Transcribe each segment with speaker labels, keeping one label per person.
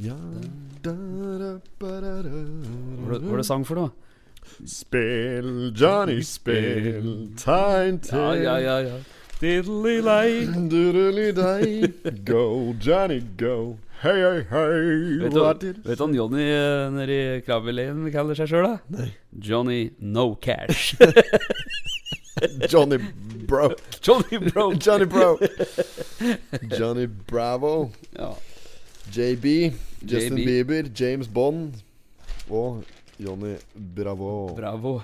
Speaker 1: Ja, da, da, ba, da, da,
Speaker 2: Hva er det- hva er det sang for noe?
Speaker 1: Spill, Johnny, spill, tegn til
Speaker 2: ja. Diddly-lei.
Speaker 1: Durulidei. Go, Johnny, go. Hei, hei, hei.
Speaker 2: Vet du vet du hva Johnny eh, nede i Krabbeleien kaller seg sjøl, da?
Speaker 1: Nei.
Speaker 2: Johnny No Cash.
Speaker 1: Johnny Bro.
Speaker 2: Johnny Broke.
Speaker 1: Johnny Bro. Johnny Bravo.
Speaker 2: Ja.
Speaker 1: JB. Justin
Speaker 2: JB.
Speaker 1: Bieber. James Bond. Og Johnny Bravo.
Speaker 2: Bravo.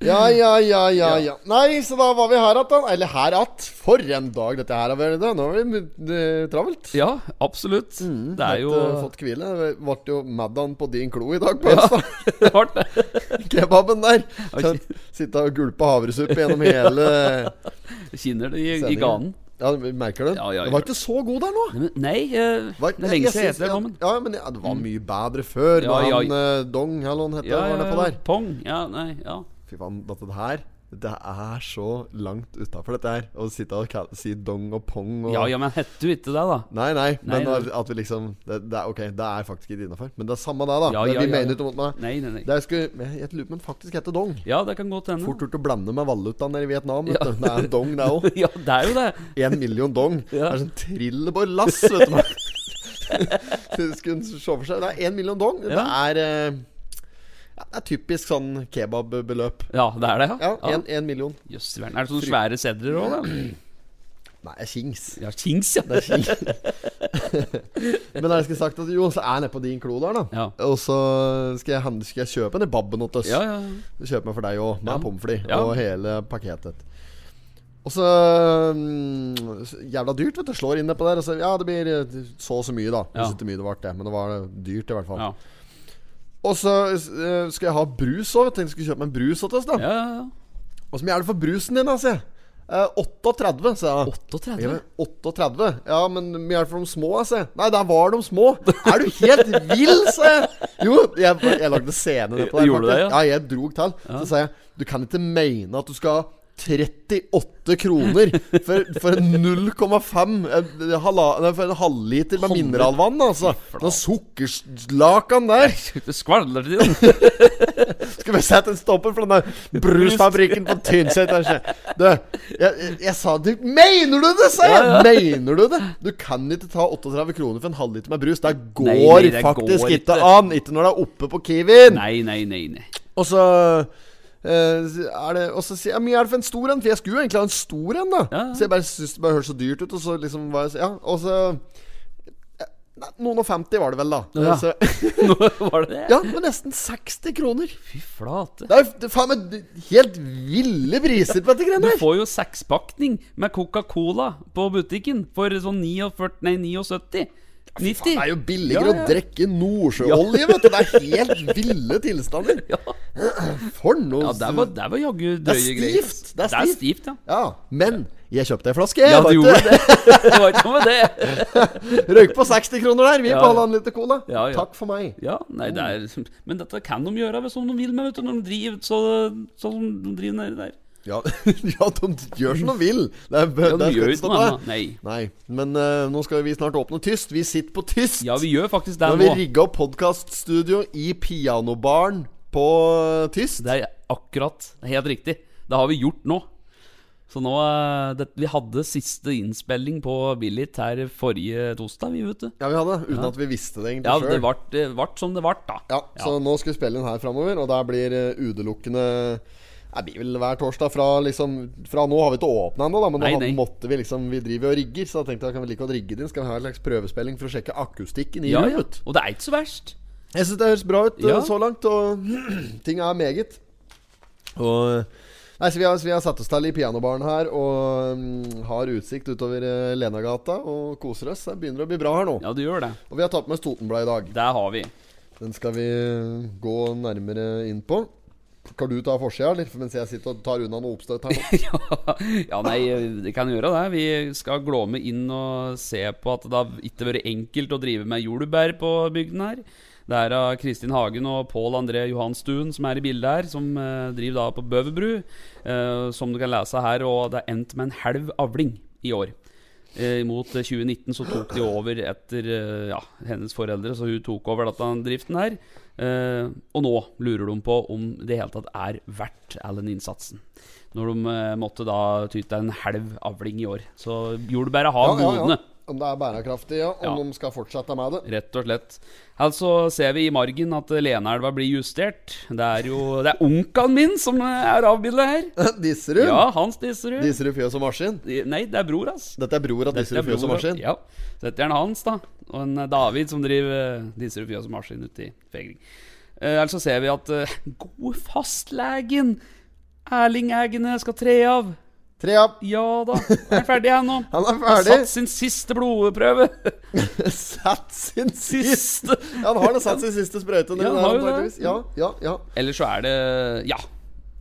Speaker 1: Ja, ja, ja, ja, ja. Nei, så da var vi her att, da. Eller her att. For en dag dette her har vært. da. Nå har vi eh, travelt.
Speaker 2: Ja, absolutt. det er jo
Speaker 1: Fått, eh, fått hvile. Vi Vart jo maddan på din klo i dag på Østad.
Speaker 2: Det var det.
Speaker 1: Kebaben der.
Speaker 2: Ok.
Speaker 1: Sitte og gulpe havresuppe gjennom hele
Speaker 2: Kinner det i, i
Speaker 1: Sendingen.
Speaker 2: ganen.
Speaker 1: Ja, merker du?
Speaker 2: Ja, ja,
Speaker 1: det var
Speaker 2: ja.
Speaker 1: ikke så god der nå.
Speaker 2: Nei, men- Nei, eh,
Speaker 1: Var-
Speaker 2: det er lenge siden
Speaker 1: jeg
Speaker 2: jeg heter det.
Speaker 1: synes-
Speaker 2: Bommen.
Speaker 1: Ja, men ja, det var mye bedre før.
Speaker 2: Ja,
Speaker 1: da
Speaker 2: ja.
Speaker 1: han eh, Dong, eller hva han het,
Speaker 2: Ja,
Speaker 1: var nedpå
Speaker 2: ja,
Speaker 1: der.
Speaker 2: pong. Ja, nei, ja.
Speaker 1: Fy faen, dette her Det er så langt utafor dette her. Å sitte og kall- si Dong og Pong og
Speaker 2: Ja, ja, men hette du ikke det, da?
Speaker 1: Nei, nei,
Speaker 2: Nei,
Speaker 1: men
Speaker 2: nei.
Speaker 1: at vi liksom det, det er Ok, det er faktisk ikke innafor. Men det er samme det, da.
Speaker 2: Ja,
Speaker 1: det,
Speaker 2: ja,
Speaker 1: vi
Speaker 2: ja,
Speaker 1: mener
Speaker 2: ja.
Speaker 1: ikke noe mot meg.
Speaker 2: Nei, nei, nei.
Speaker 1: Det jeg skulle, jeg, jeg lurer på om den faktisk heter dong.
Speaker 2: Ja, det kan godt hende.
Speaker 1: Fort gjort å blande med valutaen nede i Vietnam. Vet
Speaker 2: Ja.
Speaker 1: du. Det er dong, det òg.
Speaker 2: ja, det er jo det.
Speaker 1: Én million dong.
Speaker 2: Ja.
Speaker 1: Det er sånn trillebårlass, vet du. hva. Så Skulle en se for seg Det er én million dong. Det
Speaker 2: Ja.
Speaker 1: er eh, ja, Det er typisk sånn kebabbeløp.
Speaker 2: Ja, det er det, ja.
Speaker 1: Ja, én million.
Speaker 2: Jøss, verden. Er det sånne svære sedler òg, da?
Speaker 1: Nei, det er kings.
Speaker 2: Ja, kings, ja.
Speaker 1: Det er kings. Men da jeg skulle sagt at jo, så er jeg nede på din klo der, da.
Speaker 2: Ja.
Speaker 1: Og så skal jeg, handle, skal jeg kjøpe den babben hos oss.
Speaker 2: Ja, ja.
Speaker 1: Kjøpe meg for deg òg, med
Speaker 2: Ja.
Speaker 1: pommes frites
Speaker 2: Ja.
Speaker 1: og hele pakketet. Og så mm, så Jævla dyrt, vet du. Slår inn nedpå der. Og så, ja, det blir eh, så og så mye, da. Jeg
Speaker 2: Ja.
Speaker 1: synes ikke mye det ble, det, men det var eh, dyrt, i hvert fall.
Speaker 2: ja.
Speaker 1: Og så eh, skal jeg ha brus òg. Tenkte jeg skulle kjøpe meg en brus hos oss, da.
Speaker 2: ja, ja.
Speaker 1: Og så mye er det for brusen din, da, sier jeg. Eh, 38, sa jeg.
Speaker 2: 38?
Speaker 1: Ja, men 38? Ja, men vi er for de små, altså. Nei, der var de små. Er du helt vill, sa jeg. Jo, jeg, jeg lagde scene ned på der.
Speaker 2: Gjorde du det,
Speaker 1: faktisk.
Speaker 2: ja?
Speaker 1: ja, jeg drog til. Så sa jeg du kan ikke mene at du skal ha 38 kroner for, for en 0,5 eh, hala- nei, For en halvliter med
Speaker 2: Halvliter.
Speaker 1: mineralvann, altså. Den sukkerlakan der.
Speaker 2: Det skvalder til den.
Speaker 1: Skal vi sette en stopper for denne brusfabrikken på Tynset? kanskje? Du, jeg, jeg, jeg sa det Mener du det, sa jeg!
Speaker 2: Ja, ja.
Speaker 1: Mener du det? Du kan ikke ta 38 kroner for en halvliter med brus. Det går
Speaker 2: Nei, nei, det
Speaker 1: faktisk
Speaker 2: går
Speaker 1: ikke
Speaker 2: ikke.
Speaker 1: an. Ikke når det er oppe på Kiwien.
Speaker 2: Nei, nei, nei. nei.
Speaker 1: Og så eh, er det, og så sier jeg mye er det for en stor en, for jeg skulle jo egentlig ha en stor en. da
Speaker 2: Ja, ja.
Speaker 1: Så jeg bare syntes det bare hørtes så dyrt ut, og så liksom var jeg så- Ja, og så eh, Nei, Noen og femti var det vel, da.
Speaker 2: Ja.
Speaker 1: Så,
Speaker 2: Nå var det det.
Speaker 1: ja, men nesten 60 kroner.
Speaker 2: Fy flate.
Speaker 1: Det er jo f- det er faen meg helt ville priser på dette
Speaker 2: Du
Speaker 1: greiene her.
Speaker 2: får jo sekspakning med Coca-Cola på butikken for sånn 49, nei, 79. 90.
Speaker 1: Det er jo billigere
Speaker 2: Ja, ja.
Speaker 1: å drikke nordsjøolje, vet du. Det er helt ville tilstander.
Speaker 2: Ja,
Speaker 1: For noe
Speaker 2: ja det var, det var jaggu drøye
Speaker 1: Det er
Speaker 2: greier.
Speaker 1: stivt. Det er
Speaker 2: Det er
Speaker 1: stivt.
Speaker 2: stivt, ja.
Speaker 1: Ja, men jeg kjøpte ei flaske.
Speaker 2: Ja,
Speaker 1: Jeg
Speaker 2: du gjorde det. Det var ikke noe med det.
Speaker 1: Røyk på 60 kroner der. Vi
Speaker 2: Ja,
Speaker 1: på halvannen liter cola.
Speaker 2: Ja, ja.
Speaker 1: Takk for meg.
Speaker 2: Ja, nei, det er, men dette kan de gjøre hvis de vil med, vet du, når de driver så, sånn som de driver nedi der.
Speaker 1: Ja, ja de gjør som de vil. Det er,
Speaker 2: Ja, de
Speaker 1: det er skal
Speaker 2: gjør jo ikke
Speaker 1: stå
Speaker 2: noe
Speaker 1: der.
Speaker 2: annet. Nei.
Speaker 1: Nei, men eh, nå skal vi snart åpne tyst. Vi sitter på tyst.
Speaker 2: Ja, vi gjør faktisk det
Speaker 1: Nå har vi
Speaker 2: nå.
Speaker 1: rigga opp podkaststudio i pianobaren på eh, tyst.
Speaker 2: Det er akkurat helt riktig. Det har vi gjort nå. Så nå eh, det, Vi hadde siste innspilling på Billit her forrige torsdag, vi, vet du.
Speaker 1: Ja, vi hadde, uten at vi visste det egentlig
Speaker 2: Ja,
Speaker 1: selv.
Speaker 2: det vart, det vart som det vart, da.
Speaker 1: Ja, så nå skal vi spille inn her framover, og der blir eh, utelukkende det blir vel hver torsdag fra liksom Fra nå har vi ikke åpna ennå, da, men
Speaker 2: Nei,
Speaker 1: nå
Speaker 2: nei.
Speaker 1: hadde- måtte vi liksom Vi driver jo og rigger, så da tenkte jeg kan vi like godt rigge den. Skal vi ha en slags prøvespilling for å sjekke akustikken i
Speaker 2: Ja, ja.
Speaker 1: rommet?
Speaker 2: Og det er ikke så verst.
Speaker 1: Jeg syns det høres bra ut eh,
Speaker 2: Ja.
Speaker 1: så langt, og ting er meget. Og Nei, så vi har, så vi har satt oss til i pianobaren her og mm, har utsikt utover eh, Lenagata og koser oss. Det begynner å bli bra her nå.
Speaker 2: Ja, det gjør det.
Speaker 1: Og vi har tatt med oss Totenbladet i dag.
Speaker 2: Der har vi.
Speaker 1: Den skal vi gå nærmere inn på. Kan du ta forsida, eller? Mens jeg sitter og tar unna noe oppstøt her nå.
Speaker 2: ja, ja, nei, det kan gjøre det. Vi skal glåme inn og se på at det har ikke vært enkelt å drive med jordbær på bygden her. Det er av Kristin Hagen og Pål André Johanstuen som er i bildet her, som eh, driver da på Bøverbru. eh, som du kan lese her, og det er endt med en halv avling i år. Eh, mot eh, 2019 så tok de over etter eh, ja, hennes foreldre, så hun tok over dette driften her. Eh, og nå lurer de på om det i hele tatt er verdt all den innsatsen. Når de eh, måtte da ty til en halv avling i år. Så jordbæra har
Speaker 1: Ja, ja,
Speaker 2: modne.
Speaker 1: ja. Om det er bærekraftig, ja. Om
Speaker 2: Ja.
Speaker 1: de skal fortsette med det.
Speaker 2: Rett og slett. Altså ser vi i margen at eh, Leneelva blir justert. Det er jo Det er onkelen min som eh, er avbildet her.
Speaker 1: Disserud?
Speaker 2: Ja, Hans Disserud.
Speaker 1: Disserud Fjøs og Maskin?
Speaker 2: Nei, det er bror, ass.
Speaker 1: Dette er bror av
Speaker 2: Dette er
Speaker 1: Disserud Fjøs og
Speaker 2: bror,
Speaker 1: Maskin?
Speaker 2: Ja. Så dette er en Hans, da. Og en eh, David som driver eh, Disserud Fjøs og Maskin ute i Fegring. Eh, Ellers så ser vi at eh, gode fastlegen Erling Egene skal tre av.
Speaker 1: Tre av.
Speaker 2: Ja da, er ferdig her nå.
Speaker 1: Han er
Speaker 2: Satt
Speaker 1: ferdig!
Speaker 2: sin siste blodprøve.
Speaker 1: Satt sin siste
Speaker 2: Siste.
Speaker 1: Ja, han har da satt sin siste sprøyte ned
Speaker 2: Ja,
Speaker 1: der,
Speaker 2: han har jo det.
Speaker 1: antakeligvis. Ja, ja, ja.
Speaker 2: Eller så er det Ja.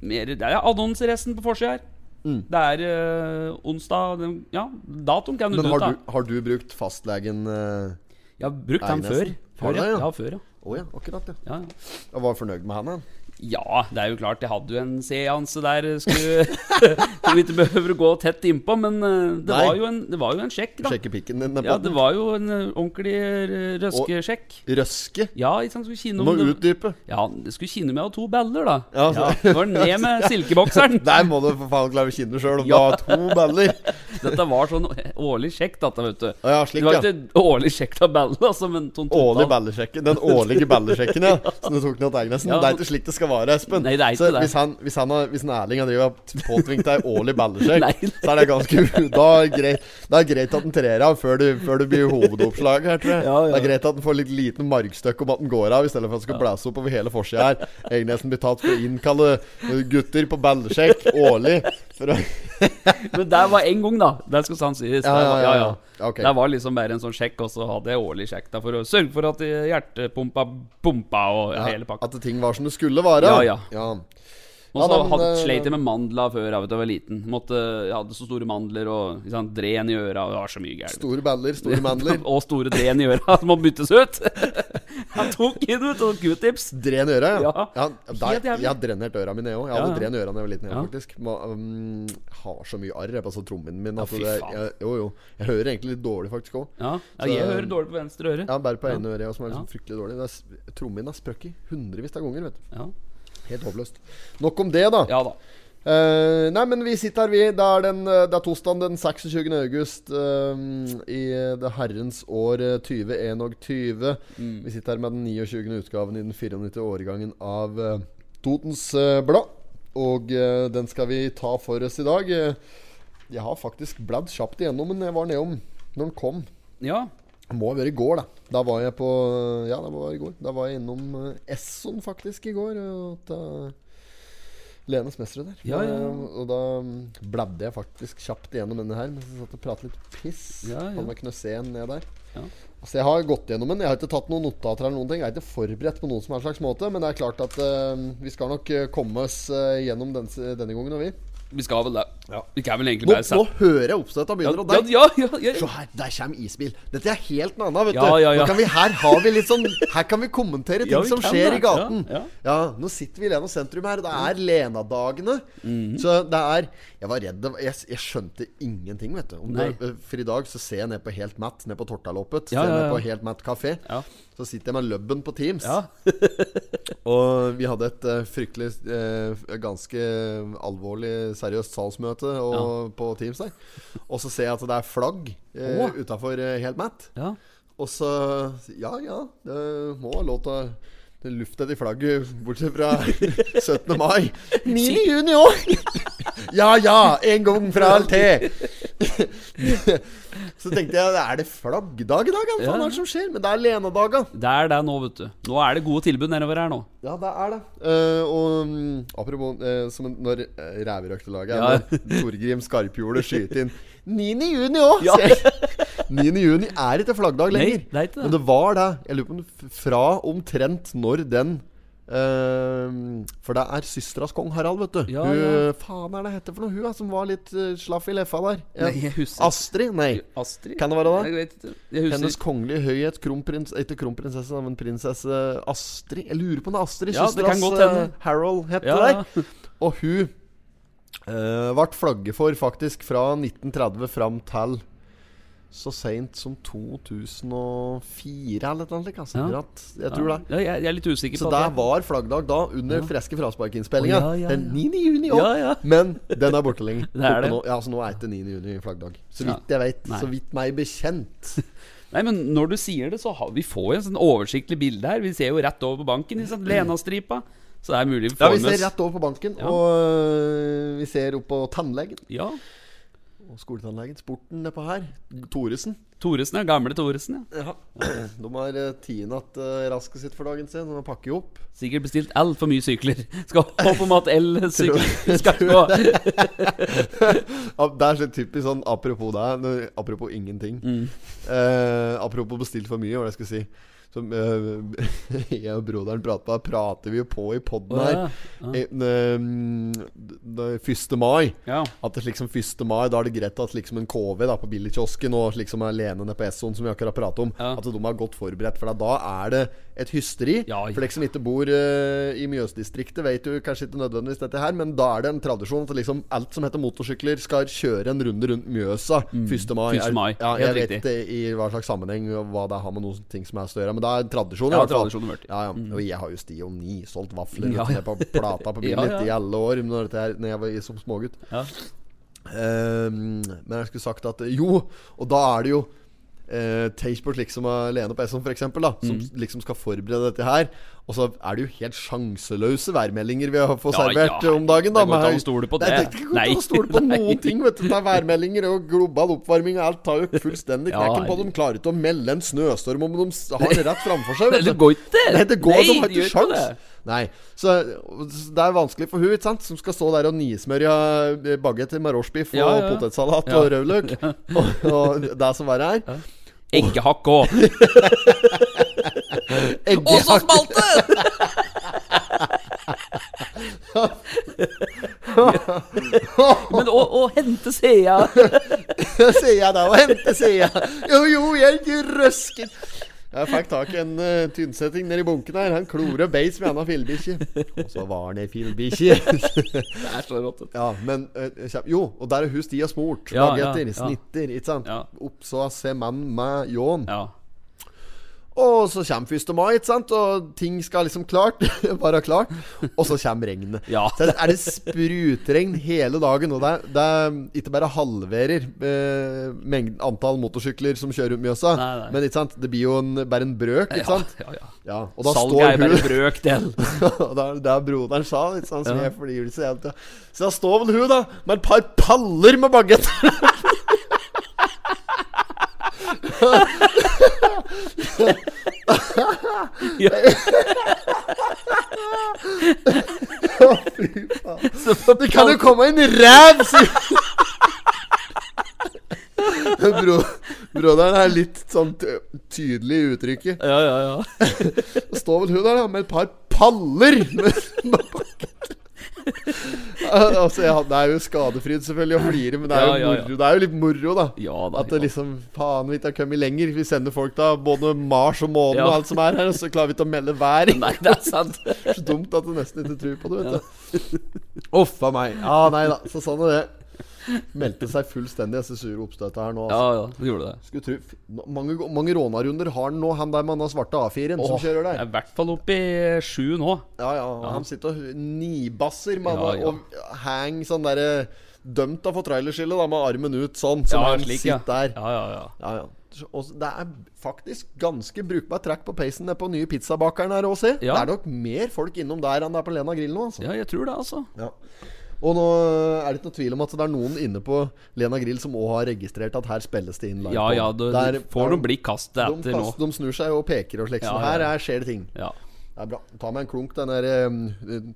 Speaker 2: Mer, det er annonseresten på forsida her.
Speaker 1: Mm.
Speaker 2: Det er eh, onsdag den, Ja, datoen kan du
Speaker 1: Men
Speaker 2: ta ut,
Speaker 1: har
Speaker 2: da.
Speaker 1: du, har du brukt fastlegen eh,
Speaker 2: Jeg har brukt den
Speaker 1: Nei,
Speaker 2: før.
Speaker 1: nesten. Har
Speaker 2: Før,
Speaker 1: du
Speaker 2: ja.
Speaker 1: det, ja?
Speaker 2: ja. før, ja.
Speaker 1: Å ja, akkurat, ja.
Speaker 2: ja, ja.
Speaker 1: Jeg var fornøyd med han, han.
Speaker 2: Ja, det er jo klart. Jeg hadde jo en seanse der. eh, Skulle, som vi ikke behøver å gå tett innpå, men eh, det
Speaker 1: Nei.
Speaker 2: var, jo en, det var jo en sjekk, da.
Speaker 1: Sjekke pikken din.
Speaker 2: Ja,
Speaker 1: nedpå.
Speaker 2: det var jo en eh, ordentlig eh, røskesjekk.
Speaker 1: Røske.
Speaker 2: Ja, ikke sant. Skulle kinne
Speaker 1: Du må
Speaker 2: om det,
Speaker 1: utdype.
Speaker 2: ja, det skulle kinne med å ha to baller, da.
Speaker 1: Ja,
Speaker 2: Ja,
Speaker 1: altså.
Speaker 2: det var ned med silkebokseren.
Speaker 1: Der må du for faen klare å kinne sjøl om
Speaker 2: Ja.
Speaker 1: du har to baller.
Speaker 2: Dette var sånn årlig sjekk, dette, vet du.
Speaker 1: Ja, ja,
Speaker 2: Det
Speaker 1: slik,
Speaker 2: var
Speaker 1: ja.
Speaker 2: ikke årlig sjekk av baller, altså, men sånn
Speaker 1: Årlig
Speaker 2: totalt.
Speaker 1: ballesjekken. Den årlige ballesjekken, ja. Som du tok ned til Egnesen.
Speaker 2: Ja.
Speaker 1: Det er ikke slik det skal være, Espen.
Speaker 2: Nei, det er ikke
Speaker 1: så
Speaker 2: det.
Speaker 1: Hvis, han, hvis, han har, hvis en Erling har drevet og påtvingt deg årlig ballesjekk,
Speaker 2: Nei.
Speaker 1: så er det ganske Da er greit, da er greit at den trer av før du, før du blir hovedoppslaget her, tror jeg.
Speaker 2: Ja, ja.
Speaker 1: Det er greit at den får litt liten markstøkk om at den går av, i stedet for at den skal blæse opp over hele forsida her. Egnesen blir tatt for å innkalle gutter på ballesjekk årlig. For å,
Speaker 2: Men det var én gang, da. Det skal sant
Speaker 1: Ja,
Speaker 2: sies. Det
Speaker 1: ja,
Speaker 2: var-
Speaker 1: ja, ja. Ok.
Speaker 2: Det var liksom bare en sånn sjekk, og så hadde jeg årlig sjekk da for å sørge for at eh, hjertepumpa pumpa og hele pakka.
Speaker 1: at ting var som det skulle være.
Speaker 2: Ja, ja. Og
Speaker 1: Ja,
Speaker 2: så
Speaker 1: da, men,
Speaker 2: hadde-
Speaker 1: eh,
Speaker 2: sleit jeg med mandler før jeg, vet, da jeg var liten. Måtte, jeg hadde så store mandler og ikke sant, dren i øra. Og det var så mye gærent.
Speaker 1: Store baller, store mandler.
Speaker 2: og store dren i øra som må byttes ut. Han tok inn ut og Q-tips.
Speaker 1: Dren øra, ja.
Speaker 2: Ja.
Speaker 1: ja. der,
Speaker 2: Helt jævlig.
Speaker 1: jeg har drenert øra mine, jeg òg. Jeg
Speaker 2: Ja,
Speaker 1: hadde
Speaker 2: ja.
Speaker 1: dren øra da jeg var liten. Jeg,
Speaker 2: Ja.
Speaker 1: faktisk Må, um, Har så mye arr jeg, på altså, trommen min. Altså,
Speaker 2: fy
Speaker 1: det,
Speaker 2: faen.
Speaker 1: jeg, jo, jo. Jeg hører egentlig litt dårlig, faktisk òg.
Speaker 2: Ja, ja,
Speaker 1: Så-
Speaker 2: jeg hører dårlig på venstre øre.
Speaker 1: Ja, bare på ene øret, jeg, som er liksom
Speaker 2: Ja.
Speaker 1: fryktelig dårlig. Det er s- Trommen min har sprøkket hundrevis av ganger. vet du
Speaker 2: Ja.
Speaker 1: Helt håpløst. Nok om det, da.
Speaker 2: ja da.
Speaker 1: Eh, nei, men vi sitter her, vi. Det er, den, eh, det er tosdagen den 26. august eh, i det herrens år eh, 2021. Vi sitter her med den 29. utgaven i den 94. årgangen av eh, Totens eh, Blad. Og eh, den skal vi ta for oss i dag. Eh, jeg har faktisk bladd kjapt igjennom, men jeg var nedom når den kom.
Speaker 2: Ja.
Speaker 1: Det må ha vært i går, da. Da var jeg på Ja, det var i går. Da var jeg innom eh, Esson faktisk i går. eh, Og til Lenes Mestre der.
Speaker 2: Ja, ja, ja.
Speaker 1: Og, og da mm, bladde jeg faktisk kjapt igjennom denne her mens jeg satt og pratet litt piss.
Speaker 2: Ja, ja.
Speaker 1: Han med knøsen ned der.
Speaker 2: Ja.
Speaker 1: Så jeg har gått gjennom den. Jeg har ikke tatt noen notater eller noen ting. Jeg er ikke forberedt på noen som helst slags måte, men det er klart at eh, vi skal nok eh, komme oss eh, gjennom den, denne gangen, og vi.
Speaker 2: Vi skal vel det. Vi kan vel egentlig
Speaker 1: Nå,
Speaker 2: bare
Speaker 1: nå hører jeg oppstøtta
Speaker 2: Ja,
Speaker 1: begynner, og
Speaker 2: ja,
Speaker 1: der
Speaker 2: ja, ja, ja.
Speaker 1: Se her, der kommer isbil. Dette er helt noe annet, vet
Speaker 2: Ja,
Speaker 1: du.
Speaker 2: ja, ja.
Speaker 1: Nå kan vi, her har vi litt sånn Her kan vi kommentere ting
Speaker 2: Ja, vi
Speaker 1: som
Speaker 2: kan
Speaker 1: skjer
Speaker 2: det.
Speaker 1: i gaten.
Speaker 2: Ja,
Speaker 1: Ja,
Speaker 2: ja.
Speaker 1: nå sitter vi i Lena sentrum her, og det er Lena-dagene.
Speaker 2: Mhm.
Speaker 1: Så det er Jeg var redd det- jeg, jeg skjønte ingenting, vet du. Om
Speaker 2: Nei.
Speaker 1: det, for i dag så ser jeg ned på Helt Matt, ned på Tortaloppet.
Speaker 2: Ja,
Speaker 1: ser jeg
Speaker 2: ja,
Speaker 1: ned på
Speaker 2: ja.
Speaker 1: Helt Matt kafé.
Speaker 2: Ja.
Speaker 1: Så sitter jeg med lubben på Teams.
Speaker 2: Ja.
Speaker 1: Og vi hadde et eh, fryktelig eh, ganske alvorlig seriøst salgsmøte og, på Teams der. Og så ser jeg at det er flagg eh,
Speaker 2: Åh.
Speaker 1: utafor eh, Helt Matt.
Speaker 2: Ja.
Speaker 1: Og så Ja ja, det må ha lov til å det er luft etter flagget, bortsett fra 17. mai. 9. juni òg! Ja ja, en gang fra LT! Så tenkte jeg, er det flaggdag i dag? Hva faen er det som skjer? Men det er Lena-daga.
Speaker 2: Det er det nå, vet du. Nå er det gode tilbud nedover her nå.
Speaker 1: Ja, det er det. Eh, og mm, apropos eh, som en- når uh, ræverøktelaget
Speaker 2: Ja.
Speaker 1: Når Torgrim Skarphjulet skyter inn 9. juni òg!
Speaker 2: Ja.
Speaker 1: 9. juni er ikke flaggdag
Speaker 2: Nei,
Speaker 1: lenger.
Speaker 2: det er ikke det.
Speaker 1: Men det var det. Jeg lurer på om f- fra omtrent når den eh, For det er søsteras kong Harald, vet du.
Speaker 2: Ja,
Speaker 1: hun, eh,
Speaker 2: ja.
Speaker 1: Faen er det hette for noe, hun da, som var litt eh, slaff i leffa der? Ja.
Speaker 2: Nei, jeg husker
Speaker 1: Astrid? Nei.
Speaker 2: Astrid?
Speaker 1: Kan det være det?
Speaker 2: Jeg vet ikke. Jeg husker
Speaker 1: Hennes kongelige høyhet, kronprins, eh, ikke kronprinsesse, da, men prinsesse Astrid Jeg lurer på om det er Astrid,
Speaker 2: Ja, det kan
Speaker 1: søsteras
Speaker 2: godt hende.
Speaker 1: eh, Harold het
Speaker 2: Ja,
Speaker 1: det
Speaker 2: ja.
Speaker 1: der. Og hun eh, ble flagget for faktisk fra 1930 fram til så seint som 2004 eller et eller annet. slik, Altså.
Speaker 2: Ja.
Speaker 1: Akkurat. Jeg tror det.
Speaker 2: Ja, jeg, jeg er litt usikker
Speaker 1: Så
Speaker 2: på
Speaker 1: der
Speaker 2: at jeg-
Speaker 1: var flaggdag da, under freske frasparkinnspillinga.
Speaker 2: Å, ja, ja,
Speaker 1: Den
Speaker 2: ja.
Speaker 1: 9. juni òg.
Speaker 2: Ja, ja.
Speaker 1: Men den er borte lenger.
Speaker 2: Det er det.
Speaker 1: Nå, ja, så nå er det ikke 9. juni flaggdag. Så
Speaker 2: Ja.
Speaker 1: vidt jeg vet.
Speaker 2: Nei.
Speaker 1: Så vidt meg bekjent.
Speaker 2: Nei, men når du sier det, så har, vi får jo en sånn oversiktlig bilde her. Vi ser jo rett over på banken, ikke sant? Lena-stripa. Så det er mulig vi
Speaker 1: Ja,
Speaker 2: får
Speaker 1: vi ser
Speaker 2: med oss-
Speaker 1: rett over på banken,
Speaker 2: Ja.
Speaker 1: og øh, vi ser opp på tannlegen.
Speaker 2: Ja.
Speaker 1: Og skoletannlegen. Sporten nedpå her. Thoresen.
Speaker 2: Thoresen, ja. Gamle Thoresen, ja.
Speaker 1: De har eh, tien at eh, rasket sitt for dagen sin. De pakker jo opp.
Speaker 2: Sikkert bestilt altfor mye sykler. Skal håpe om at el-sykler skal gå.
Speaker 1: Ja, det er så typisk sånn apropos deg, nå- apropos ingenting.
Speaker 2: Mm.
Speaker 1: Eh, apropos bestilt for mye, hva var det jeg skulle si. Som eh, jeg og broderen prata prater vi jo på i poden her.
Speaker 2: Å, ja.
Speaker 1: Eh, n- n- 1. mai.
Speaker 2: Ja.
Speaker 1: At det liksom 1. mai, da er det greit at liksom en KV da på billigkiosken og liksom alene nede på Essoen, som vi akkurat pratet om,
Speaker 2: Ja.
Speaker 1: at de er godt forberedt. For da er det et hysteri.
Speaker 2: Ja, ja.
Speaker 1: For de som ikke bor eh, i Mjøsdistriktet, vet jo kanskje ikke nødvendigvis dette her, men da er det en tradisjon at liksom alt som heter motorsykler, skal kjøre en runde rundt Mjøsa 1. mai.
Speaker 2: 1. Mm. mai.
Speaker 1: Ja, jeg
Speaker 2: Helt
Speaker 1: vet
Speaker 2: riktig.
Speaker 1: ikke i hva slags sammenheng og hva det har med noen ting som er større, men det er en tradisjon. i
Speaker 2: Ja,
Speaker 1: hvert fall.
Speaker 2: tradisjon har vært.
Speaker 1: Ja, ja. Og jeg har jo sti og ni, solgt vafler
Speaker 2: Ja,
Speaker 1: vet du,
Speaker 2: ja.
Speaker 1: ned på plata på
Speaker 2: Ja,
Speaker 1: billig
Speaker 2: ja.
Speaker 1: i alle år når, dette her, når jeg var i- som smågutt.
Speaker 2: Ja.
Speaker 1: Ehm, men jeg skulle sagt at eh, jo, og da er det jo uh, Tastebert liksom av Lene på Esson for eksempel da
Speaker 2: Mm.
Speaker 1: Som liksom skal forberede dette her Og så er det jo helt sjanseløse værmeldinger vi har fått
Speaker 2: Ja,
Speaker 1: servert eh,
Speaker 2: ja.
Speaker 1: om dagen da
Speaker 2: Det går ikke
Speaker 1: med-
Speaker 2: an å stole på
Speaker 1: Nei,
Speaker 2: det.
Speaker 1: Det går ikke
Speaker 2: Nei.
Speaker 1: an å stole på
Speaker 2: Nei.
Speaker 1: noen ting vet du Det er værmeldinger og global oppvarming og alt tar jo fullstendig
Speaker 2: Ja,
Speaker 1: knekken på
Speaker 2: herregud.
Speaker 1: dem Klarer ikke å melde en snøstorm om de s- har det rett framfor seg
Speaker 2: Nei,
Speaker 1: vet
Speaker 2: det
Speaker 1: du.
Speaker 2: går ikke!
Speaker 1: Nei, det går, de har
Speaker 2: det gjør
Speaker 1: ikke sjans
Speaker 2: det.
Speaker 1: Nei, så så det er vanskelig for hun, ikke sant? Som skal stå der og eh, nismørja bagetter med rorsbiff
Speaker 2: Ja,
Speaker 1: og
Speaker 2: ja, ja.
Speaker 1: potetsalat
Speaker 2: Ja.
Speaker 1: og rødløk. Og, og det som verre er
Speaker 2: Eggehakk òg. Og så
Speaker 1: Eggehakk
Speaker 2: smalt det! Men å, å hente Sea
Speaker 1: sier jeg da, og hente, sier jeg. Jo, jo, jeg er røsken. Jeg fikk tak i en eh, tynnsetting nede i bunken her. Han klore beis med anna fillebikkje. Og så var han ei fillebikkje.
Speaker 2: Det er så rått. vet du.
Speaker 1: Ja, men eh, kjem- Jo, og der er hun stia smurt.
Speaker 2: Ja, ja,
Speaker 1: bagetter,
Speaker 2: ja.
Speaker 1: snitter, ikke sant?
Speaker 2: Ja.
Speaker 1: Oppså se mann med ljåen.
Speaker 2: Ja.
Speaker 1: Og så kommer 1. mai, ikke sant? og ting skal liksom klart være klart. Og så kommer regnet.
Speaker 2: Ja.
Speaker 1: Så er det sprutregn hele dagen. Og det er, det er ikke bare halverer eh, mengden, antall motorsykler som kjører rundt Mjøsa,
Speaker 2: Nei, nei.
Speaker 1: men ikke sant? det blir jo en, bare en brøk, ikke sant?
Speaker 2: Ja, ja, ja.
Speaker 1: Ja, og da
Speaker 2: Salget
Speaker 1: står
Speaker 2: er bare
Speaker 1: hun
Speaker 2: en brøkdel.
Speaker 1: Og det er det er broderen sa, litt sånn som jeg flirer så jævlig av. Så da står vel hun, da, med et par paller med bagetter.
Speaker 2: Ja.
Speaker 1: Å, fy faen.
Speaker 2: Så får
Speaker 1: Det kan jo komme en ræv, sier Bro, Broderen er litt sånn t- tydelig i uttrykket.
Speaker 2: Ja, ja, ja.
Speaker 1: Det står vel hun der da med et par paller med med pakket. altså, jeg, hadde- det er jo skadefryd selvfølgelig å flire, men det er jo,
Speaker 2: Ja, ja, ja.
Speaker 1: Moro, det er jo litt moro, da.
Speaker 2: Ja da.
Speaker 1: At det liksom Faen, vi ikke har kommet lenger. Vi sender folk da både Mars og månen
Speaker 2: Ja.
Speaker 1: og alt som er her, og så klarer vi ikke å melde vær.
Speaker 2: Nei, det er sant.
Speaker 1: Det er så dumt at du nesten ikke tror på det, vet du. Uff a meg. Ja, nei da. Så sånn er det. Meldte seg fullstendig disse sure oppstøtet her nå.
Speaker 2: Ja,
Speaker 1: Altså.
Speaker 2: ja, det gjorde det.
Speaker 1: Skulle tro f- Mange, mange rånarunder har han nå, han der med den svarte A4-en som
Speaker 2: Åh,
Speaker 1: kjører der.
Speaker 2: Jeg er i hvert fall oppe i sju nå.
Speaker 1: Ja, ja. og Han sitter og nibasser med
Speaker 2: Ja, ja.
Speaker 1: og hang sånn derre Dømt av for trailerskille, da, med armen ut sånn, som
Speaker 2: ja,
Speaker 1: han
Speaker 2: slik, ja.
Speaker 1: sitter der.
Speaker 2: Ja, ja, ja.
Speaker 1: Ja, ja. Og så- det er faktisk ganske brukbar track på peisen nede på nye pizzabakeren her òg, se.
Speaker 2: Ja.
Speaker 1: Det er nok mer folk innom der enn det er på Lena Grill nå, altså.
Speaker 2: Ja, jeg tror det, altså.
Speaker 1: Ja. Og nå eh, er det ikke noe tvil om at det er noen inne på Lena Grill som òg har registrert at her spilles det inn live.
Speaker 2: Ja,
Speaker 1: på.
Speaker 2: ja, du,
Speaker 1: Der-
Speaker 2: du får
Speaker 1: der-
Speaker 2: noen blikk kastet
Speaker 1: de,
Speaker 2: etter nå.
Speaker 1: kast- de snur seg og peker og slik.
Speaker 2: Ja,
Speaker 1: så
Speaker 2: ja,
Speaker 1: Her
Speaker 2: ja.
Speaker 1: er, skjer det ting.
Speaker 2: Ja.
Speaker 1: Det er bra. Ta meg en klunk, den der um,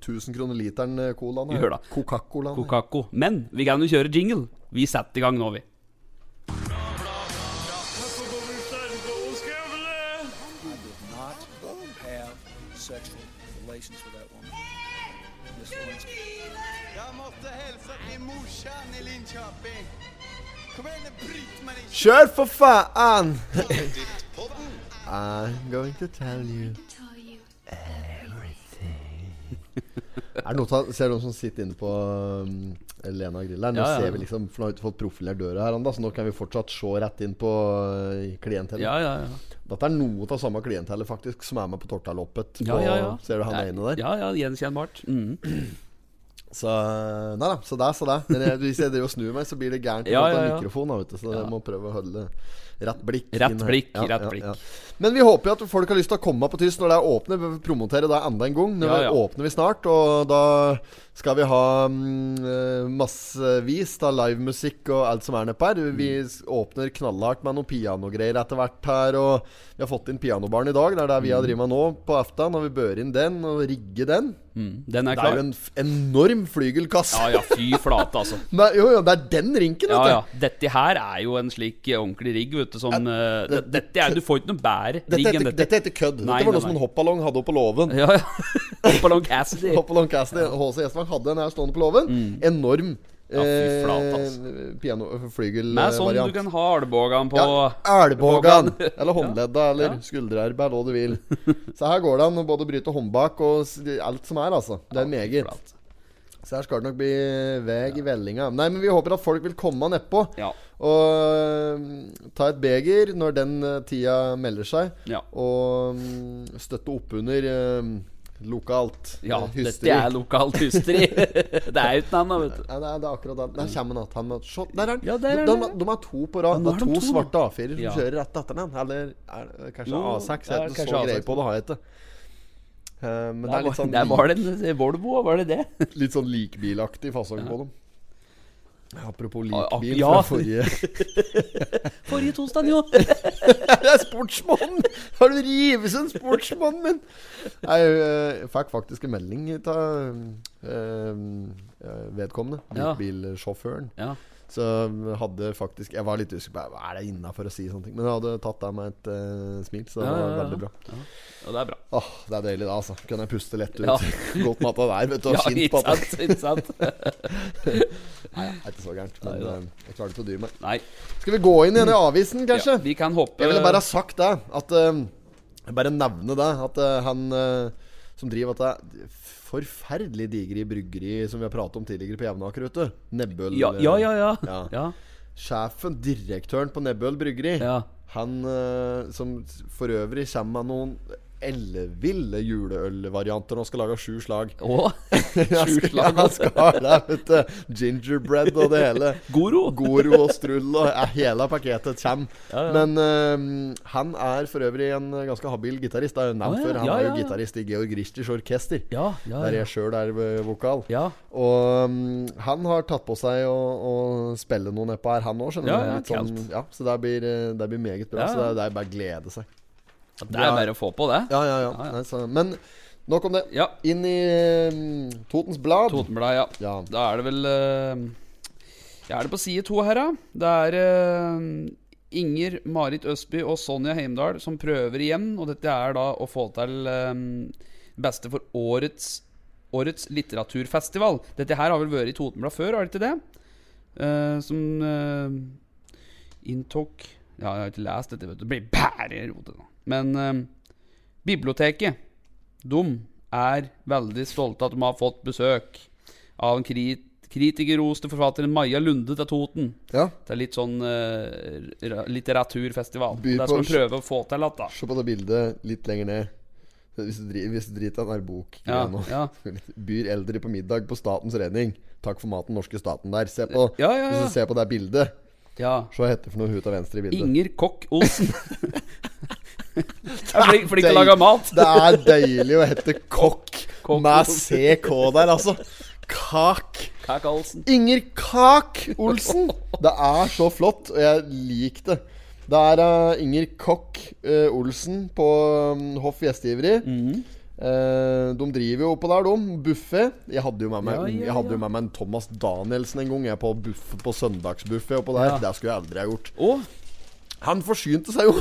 Speaker 1: 1000 kroner literen eh, colaen. her.
Speaker 2: Gjør det.
Speaker 1: Coca-Colaen. her.
Speaker 2: Kokako. Men vi kan jo kjøre jingle. Vi setter i gang nå, vi.
Speaker 3: I did not have sexual relations with that woman. Miss Lewinsky.
Speaker 4: Jeg måtte hilse til morsan i Linköping. Kom igjen, bryt meg ikke!
Speaker 1: Kjør, for faen! I'm going to tell you Er det noe, ta- ser du noen som sitter inne på um, Lena Grill her? Nå
Speaker 2: Ja, ja.
Speaker 1: ser vi liksom For nå har vi ikke fått profilert døra her, Anda, så nå kan vi fortsatt se rett inn på uh, klientellet.
Speaker 2: Ja, ja, ja.
Speaker 1: Dette er noe av samme klientellet faktisk som er med på Tortaloppet.
Speaker 2: Ja,
Speaker 1: på-
Speaker 2: ja, ja.
Speaker 1: Ser du han
Speaker 2: Nei,
Speaker 1: ene der?
Speaker 2: Ja, ja, gjenkjennbart. Mm.
Speaker 1: Så eh, nei da, så der, så der. Men jeg, hvis jeg driver og snur meg, så blir det gærent.
Speaker 2: Ja,
Speaker 1: Ja, ja,
Speaker 2: ja, ja.
Speaker 1: Mikrofon, da, vet du, så
Speaker 2: Ja.
Speaker 1: jeg må prøve å holde rett blikk.
Speaker 2: Rett
Speaker 1: inn her.
Speaker 2: blikk, rett blikk.
Speaker 1: Men vi håper jo at folk har lyst til å komme på tyst når det er åpne. Vi promoterer det enda en gang. Nå
Speaker 2: Ja, ja.
Speaker 1: åpner vi snart, og da skal vi ha mm, eh, massevis av livemusikk og alt som er nedpå her. Vi
Speaker 2: Mm.
Speaker 1: s- åpner knallhardt med noe pianogreier etter hvert her. Og vi har fått inn pianobaren i dag. Det er det vi har drevet med nå på aften. Når vi bør inn den og rigge den.
Speaker 2: Mm. Den
Speaker 1: Det
Speaker 2: er
Speaker 1: er
Speaker 2: klar.
Speaker 1: jo en f enorm flygelkasse.
Speaker 2: Ja ja, fy flate, altså.
Speaker 1: Nei, jo, jo, det er den rinken,
Speaker 2: Ja,
Speaker 1: vet du.
Speaker 2: ja. Dette her er jo en slik eh, ordentlig rigg, vet du, som eh, det, Dette er Du får ikke noe bedre rigg
Speaker 1: Dette
Speaker 2: enn
Speaker 1: heter,
Speaker 2: dette.
Speaker 1: dette heter kødd.
Speaker 2: Nei,
Speaker 1: dette var
Speaker 2: nei,
Speaker 1: noe som
Speaker 2: nei.
Speaker 1: en hoppballong hadde oppe på låven.
Speaker 2: Ja, ja. Hoppalong Cassidy.
Speaker 1: Hoppballong Cassidy, HC Gjestvang, hadde den her stående på låven. Enorm
Speaker 2: Mm. Ja, fy flate,
Speaker 1: eh, piano-
Speaker 2: Med sånn du
Speaker 1: flygelvariant.
Speaker 2: kan ha albuen på.
Speaker 1: ja, Elbogan, eller håndledda, eller
Speaker 2: Ja.
Speaker 1: skuldererba, eller hva du vil. Så her går det an å både bryte håndbak og s- alt som er, altså. Det er meget.
Speaker 2: Flate.
Speaker 1: Så her skal det nok bli veg i vellinga. Nei, men vi håper at folk vil komme nedpå.
Speaker 2: Ja.
Speaker 1: Og mm, ta et beger når den eh, tida melder seg.
Speaker 2: Ja.
Speaker 1: Og mm, støtte oppunder um, lokalt
Speaker 2: Ja,
Speaker 1: eh,
Speaker 2: dette er lokalt hysteri. det er uten annet, vet du.
Speaker 1: Nei, nei, det er akkurat den. Der kommer han att. Han med- se, Der er han.
Speaker 2: Ja, der er
Speaker 1: de,
Speaker 2: han,
Speaker 1: de,
Speaker 2: ja.
Speaker 1: de er to på
Speaker 2: Ja,
Speaker 1: rad.
Speaker 2: nå
Speaker 1: Det
Speaker 2: er
Speaker 1: er
Speaker 2: de
Speaker 1: to,
Speaker 2: to, da.
Speaker 1: svarte A4-er som
Speaker 2: Ja.
Speaker 1: kjører rett etter den. Eller er det kanskje
Speaker 2: Jo,
Speaker 1: A6?
Speaker 2: det
Speaker 1: Jeg
Speaker 2: er
Speaker 1: har ikke så
Speaker 2: kanskje
Speaker 1: greie
Speaker 2: A6.
Speaker 1: på det, har jeg ikke. Eh, men det er
Speaker 2: Der
Speaker 1: litt
Speaker 2: var,
Speaker 1: sånn,
Speaker 2: der var det en Volvo, var det det?
Speaker 1: lik- litt sånn likbilaktig fasong på dem. Apropos
Speaker 2: Ah,
Speaker 1: likbil
Speaker 2: ja.
Speaker 1: fra forrige
Speaker 2: Forrige tosdag, jo.
Speaker 1: Jeg er sportsmann! Har du revet som sportsmannen min? Jeg eh, fikk faktisk en melding av vedkommende,
Speaker 2: Ja.
Speaker 1: bilbilsjåføren.
Speaker 2: Ja.
Speaker 1: Så hadde faktisk Jeg var litt usikker på hva er det innafor å si sånne ting. Men jeg hadde tatt av meg et eh, smil, så det
Speaker 2: Ja,
Speaker 1: var
Speaker 2: ja, ja.
Speaker 1: veldig bra.
Speaker 2: Og det er bra.
Speaker 1: Åh, Det er deilig da, altså. Kunne jeg puste lett ut.
Speaker 2: Ja.
Speaker 1: Godt med at det er der, vet du. Og
Speaker 2: Ja,
Speaker 1: kjent
Speaker 2: ikke
Speaker 1: på at det
Speaker 2: sant? Ikke sant?
Speaker 1: Nei, det er ikke så gærent. Men
Speaker 2: Neida.
Speaker 1: eh, jeg klarer ikke å dy meg.
Speaker 2: Nei.
Speaker 1: Skal vi gå inn igjen i avisen, kanskje?
Speaker 2: Ja, vi kan hoppe
Speaker 1: Jeg ville bare ha sagt det. At eh, jeg Bare nevne det. At eh, han eh, som driver dette forferdelig digre bryggeri som vi har pratet om tidligere på Jevnaker, vet du. Nebbøl.
Speaker 2: ja, ja, ja, ja.
Speaker 1: eh, ja.
Speaker 2: ja.
Speaker 1: Sjefen, direktøren på Nebbøl bryggeri,
Speaker 2: Ja.
Speaker 1: han eh, som for øvrig kommer med noen elleville juleølvarianter og skal lage sju slag.
Speaker 2: Og
Speaker 1: Han
Speaker 2: sju
Speaker 1: skal-
Speaker 2: slag.
Speaker 1: Han skal ha det, vet du. Gingerbread og det hele.
Speaker 2: Goro.
Speaker 1: Goro og strull og ja, hele pakketet kommer.
Speaker 2: Ja, ja.
Speaker 1: Men eh, han er for øvrig en ganske habil gitarist. Det er jo nevnt
Speaker 2: Å, ja.
Speaker 1: før. Han
Speaker 2: Ja,
Speaker 1: er jo
Speaker 2: ja, ja.
Speaker 1: gitarist i Georg Richters orkester.
Speaker 2: Ja, ja,
Speaker 1: Der
Speaker 2: ja.
Speaker 1: jeg sjøl er eh, vokal.
Speaker 2: ja.
Speaker 1: Og um, han har tatt på seg å, å spille noe nedpå her, han òg.
Speaker 2: Ja, ja, kaldt.
Speaker 1: sånn- ja, så det blir, eh, det blir meget bra.
Speaker 2: Ja,
Speaker 1: Så det
Speaker 2: ja.
Speaker 1: er, det er bare å glede seg.
Speaker 2: Det er bare å få på det.
Speaker 1: Ja, ja, ja.
Speaker 2: Ja, ja.
Speaker 1: Nei, så, men nok om det.
Speaker 2: Ja.
Speaker 1: Inn i um, Totens Blad.
Speaker 2: Totenbladet, ja.
Speaker 1: Ja.
Speaker 2: Da er det vel eh, Ja, er det på side to her, da? Det er eh, Inger Marit Østby og Sonja Heimdal som prøver igjen. Og dette er da å få til eh, beste for årets, årets litteraturfestival. Dette her har vel vært i Totenbladet før, har det ikke det? Eh, som eh, inntok Ja, jeg har ikke lest dette, vet du. Det blir bare rotet nå. Men eh, biblioteket, de er veldig stolte at de har fått besøk av en krit kritikerroste forfatteren Maja Lunde til Toten.
Speaker 1: ja.
Speaker 2: Det er litt sånn eh, ra- litteraturfestival.
Speaker 1: Byr på
Speaker 2: Det skal
Speaker 1: s-
Speaker 2: vi prøve å få til igjen, da.
Speaker 1: Se på det bildet litt lenger ned. Hvis du dri- hvis du driter i den bok
Speaker 2: Ja,
Speaker 1: nå.
Speaker 2: ja.
Speaker 1: Byr eldre på middag på Statens Redning. Takk for maten, norske staten der. Se på,
Speaker 2: Ja, ja, ja.
Speaker 1: Hvis du ser på det bildet,
Speaker 2: ja.
Speaker 1: se hva heter det for noe hun til venstre i bildet.
Speaker 2: Inger Kokk Olsen. Jeg er flink, flink til å lage mat.
Speaker 1: Det er deilig å hete kokk
Speaker 2: Kokk.
Speaker 1: med CK der, altså. Kak.
Speaker 2: Kak Olsen.
Speaker 1: Inger Kak Olsen. Det er så flott, og jeg liker det. Det er eh, Inger Kokk eh, Olsen på um, Hoff Gjestgiveri. Eh, de driver jo oppå der, de. Buffé. Jeg hadde jo med meg,
Speaker 2: Ja, ja,
Speaker 1: Jeg hadde jo
Speaker 2: ja.
Speaker 1: med meg en Thomas Danielsen en gang, jeg på, buff, på søndagsbuffé oppå der.
Speaker 2: Ja.
Speaker 1: Det skulle jeg aldri ha gjort.
Speaker 2: Og
Speaker 1: Han forsynte seg jo.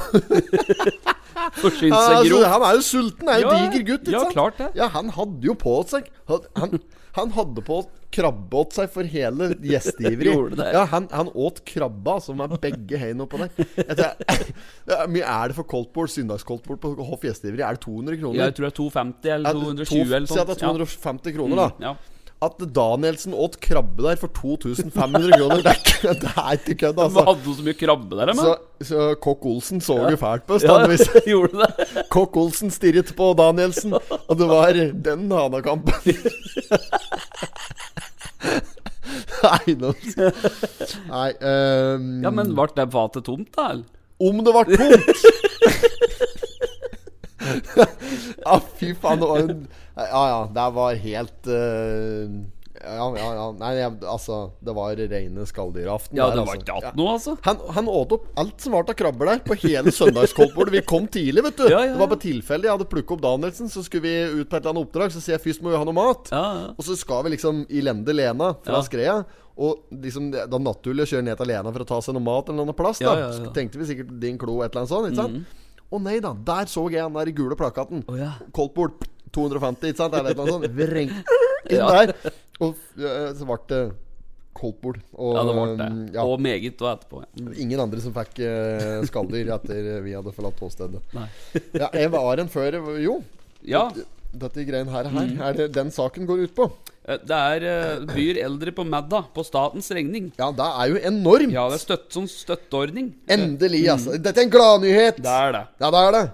Speaker 2: forsynt seg
Speaker 1: Altså,
Speaker 2: grovt.
Speaker 1: Ah, han altså, er jo sulten, er jo
Speaker 2: Ja,
Speaker 1: diger gutt. Ikke
Speaker 2: ja,
Speaker 1: sant?
Speaker 2: klart det.
Speaker 1: Ja, han hadde jo på seg han, han, Han hadde på å krabbeåt seg for hele gjesteivrig.
Speaker 2: Gjorde det?
Speaker 1: Ja, han, han åt krabba, som er begge hendene oppå der. Jeg tror, det er mye er det for koldtbord? Søndagskoldtbord på Hoff gjesteivrig? Er det 200 kroner?
Speaker 2: Jeg tror det er 250 eller 220 eller
Speaker 1: Si at det er
Speaker 2: sånt. Mm,
Speaker 1: 250 kroner, da.
Speaker 2: Ja.
Speaker 1: At Danielsen åt krabbe der for 2500 kroner, det er ikke, det er ikke kødd,
Speaker 2: Men
Speaker 1: altså.
Speaker 2: Hadde du så mye krabbe der, men?
Speaker 1: Så, så Kokk Olsen så jo fælt på oss,
Speaker 2: Ja,
Speaker 1: da. hvis-
Speaker 2: gjorde det?
Speaker 1: Kokk Olsen stirret på Danielsen, og det var den hanakampen. Nei, nå Nei ehm,
Speaker 2: Ja, men ble det fatet tomt, da? eller?
Speaker 1: Om det var tomt! ja, fy faen. Det var en, ja, ja. Det var helt eh, Ja, ja, ja. Nei, jeg, altså. Det var reine skalldyraften.
Speaker 2: Ja,
Speaker 1: der,
Speaker 2: det var
Speaker 1: altså.
Speaker 2: ikke
Speaker 1: Ja.
Speaker 2: att noe, altså?
Speaker 1: Han, han åt opp alt som var av krabber der, på hele søndagskoldbordet. Vi kom tidlig, vet du.
Speaker 2: Ja, ja, ja.
Speaker 1: Det var på tilfelle jeg hadde plukket opp Danielsen, så skulle vi ut på et eller annet oppdrag. Så sier jeg først må vi ha noe mat.
Speaker 2: Ja, ja.
Speaker 1: Og så skal vi liksom i lende Lena fra
Speaker 2: Ja.
Speaker 1: Skreia. Og liksom, det det er naturlig å kjøre ned til Lena for å ta seg noe mat eller noe plass. Da.
Speaker 2: Ja, Mhm. ja, ja.
Speaker 1: Tenkte vi sikkert din klo, et eller annet sånt. Ikke sant? Å nei da, der så jeg han der i gule plakaten.
Speaker 2: Å, ja.
Speaker 1: Koldtbord 250, ikke sant? Eller et eller annet sånt. Vreng inn
Speaker 2: Ja.
Speaker 1: der. Og eh, så ble det koldtbord. Og,
Speaker 2: Ja, det ble det.
Speaker 1: eh, ja.
Speaker 2: Og meget og etterpå. Ja.
Speaker 1: Ingen andre som fikk eh, skalldyr etter vi hadde forlatt åstedet.
Speaker 2: Nei.
Speaker 1: Ja, jeg var en før Jo,
Speaker 2: ja.
Speaker 1: dette greien her, her
Speaker 2: Mm.
Speaker 1: er det den saken går ut på.
Speaker 2: eh, Det er eh, byr eldre på Madda, på statens regning.
Speaker 1: Ja, det er jo enormt!
Speaker 2: Ja, det er støtt, sånn støtteordning.
Speaker 1: Endelig, altså. Dette er en gladnyhet!
Speaker 2: Det er det.
Speaker 1: Ja, det er det.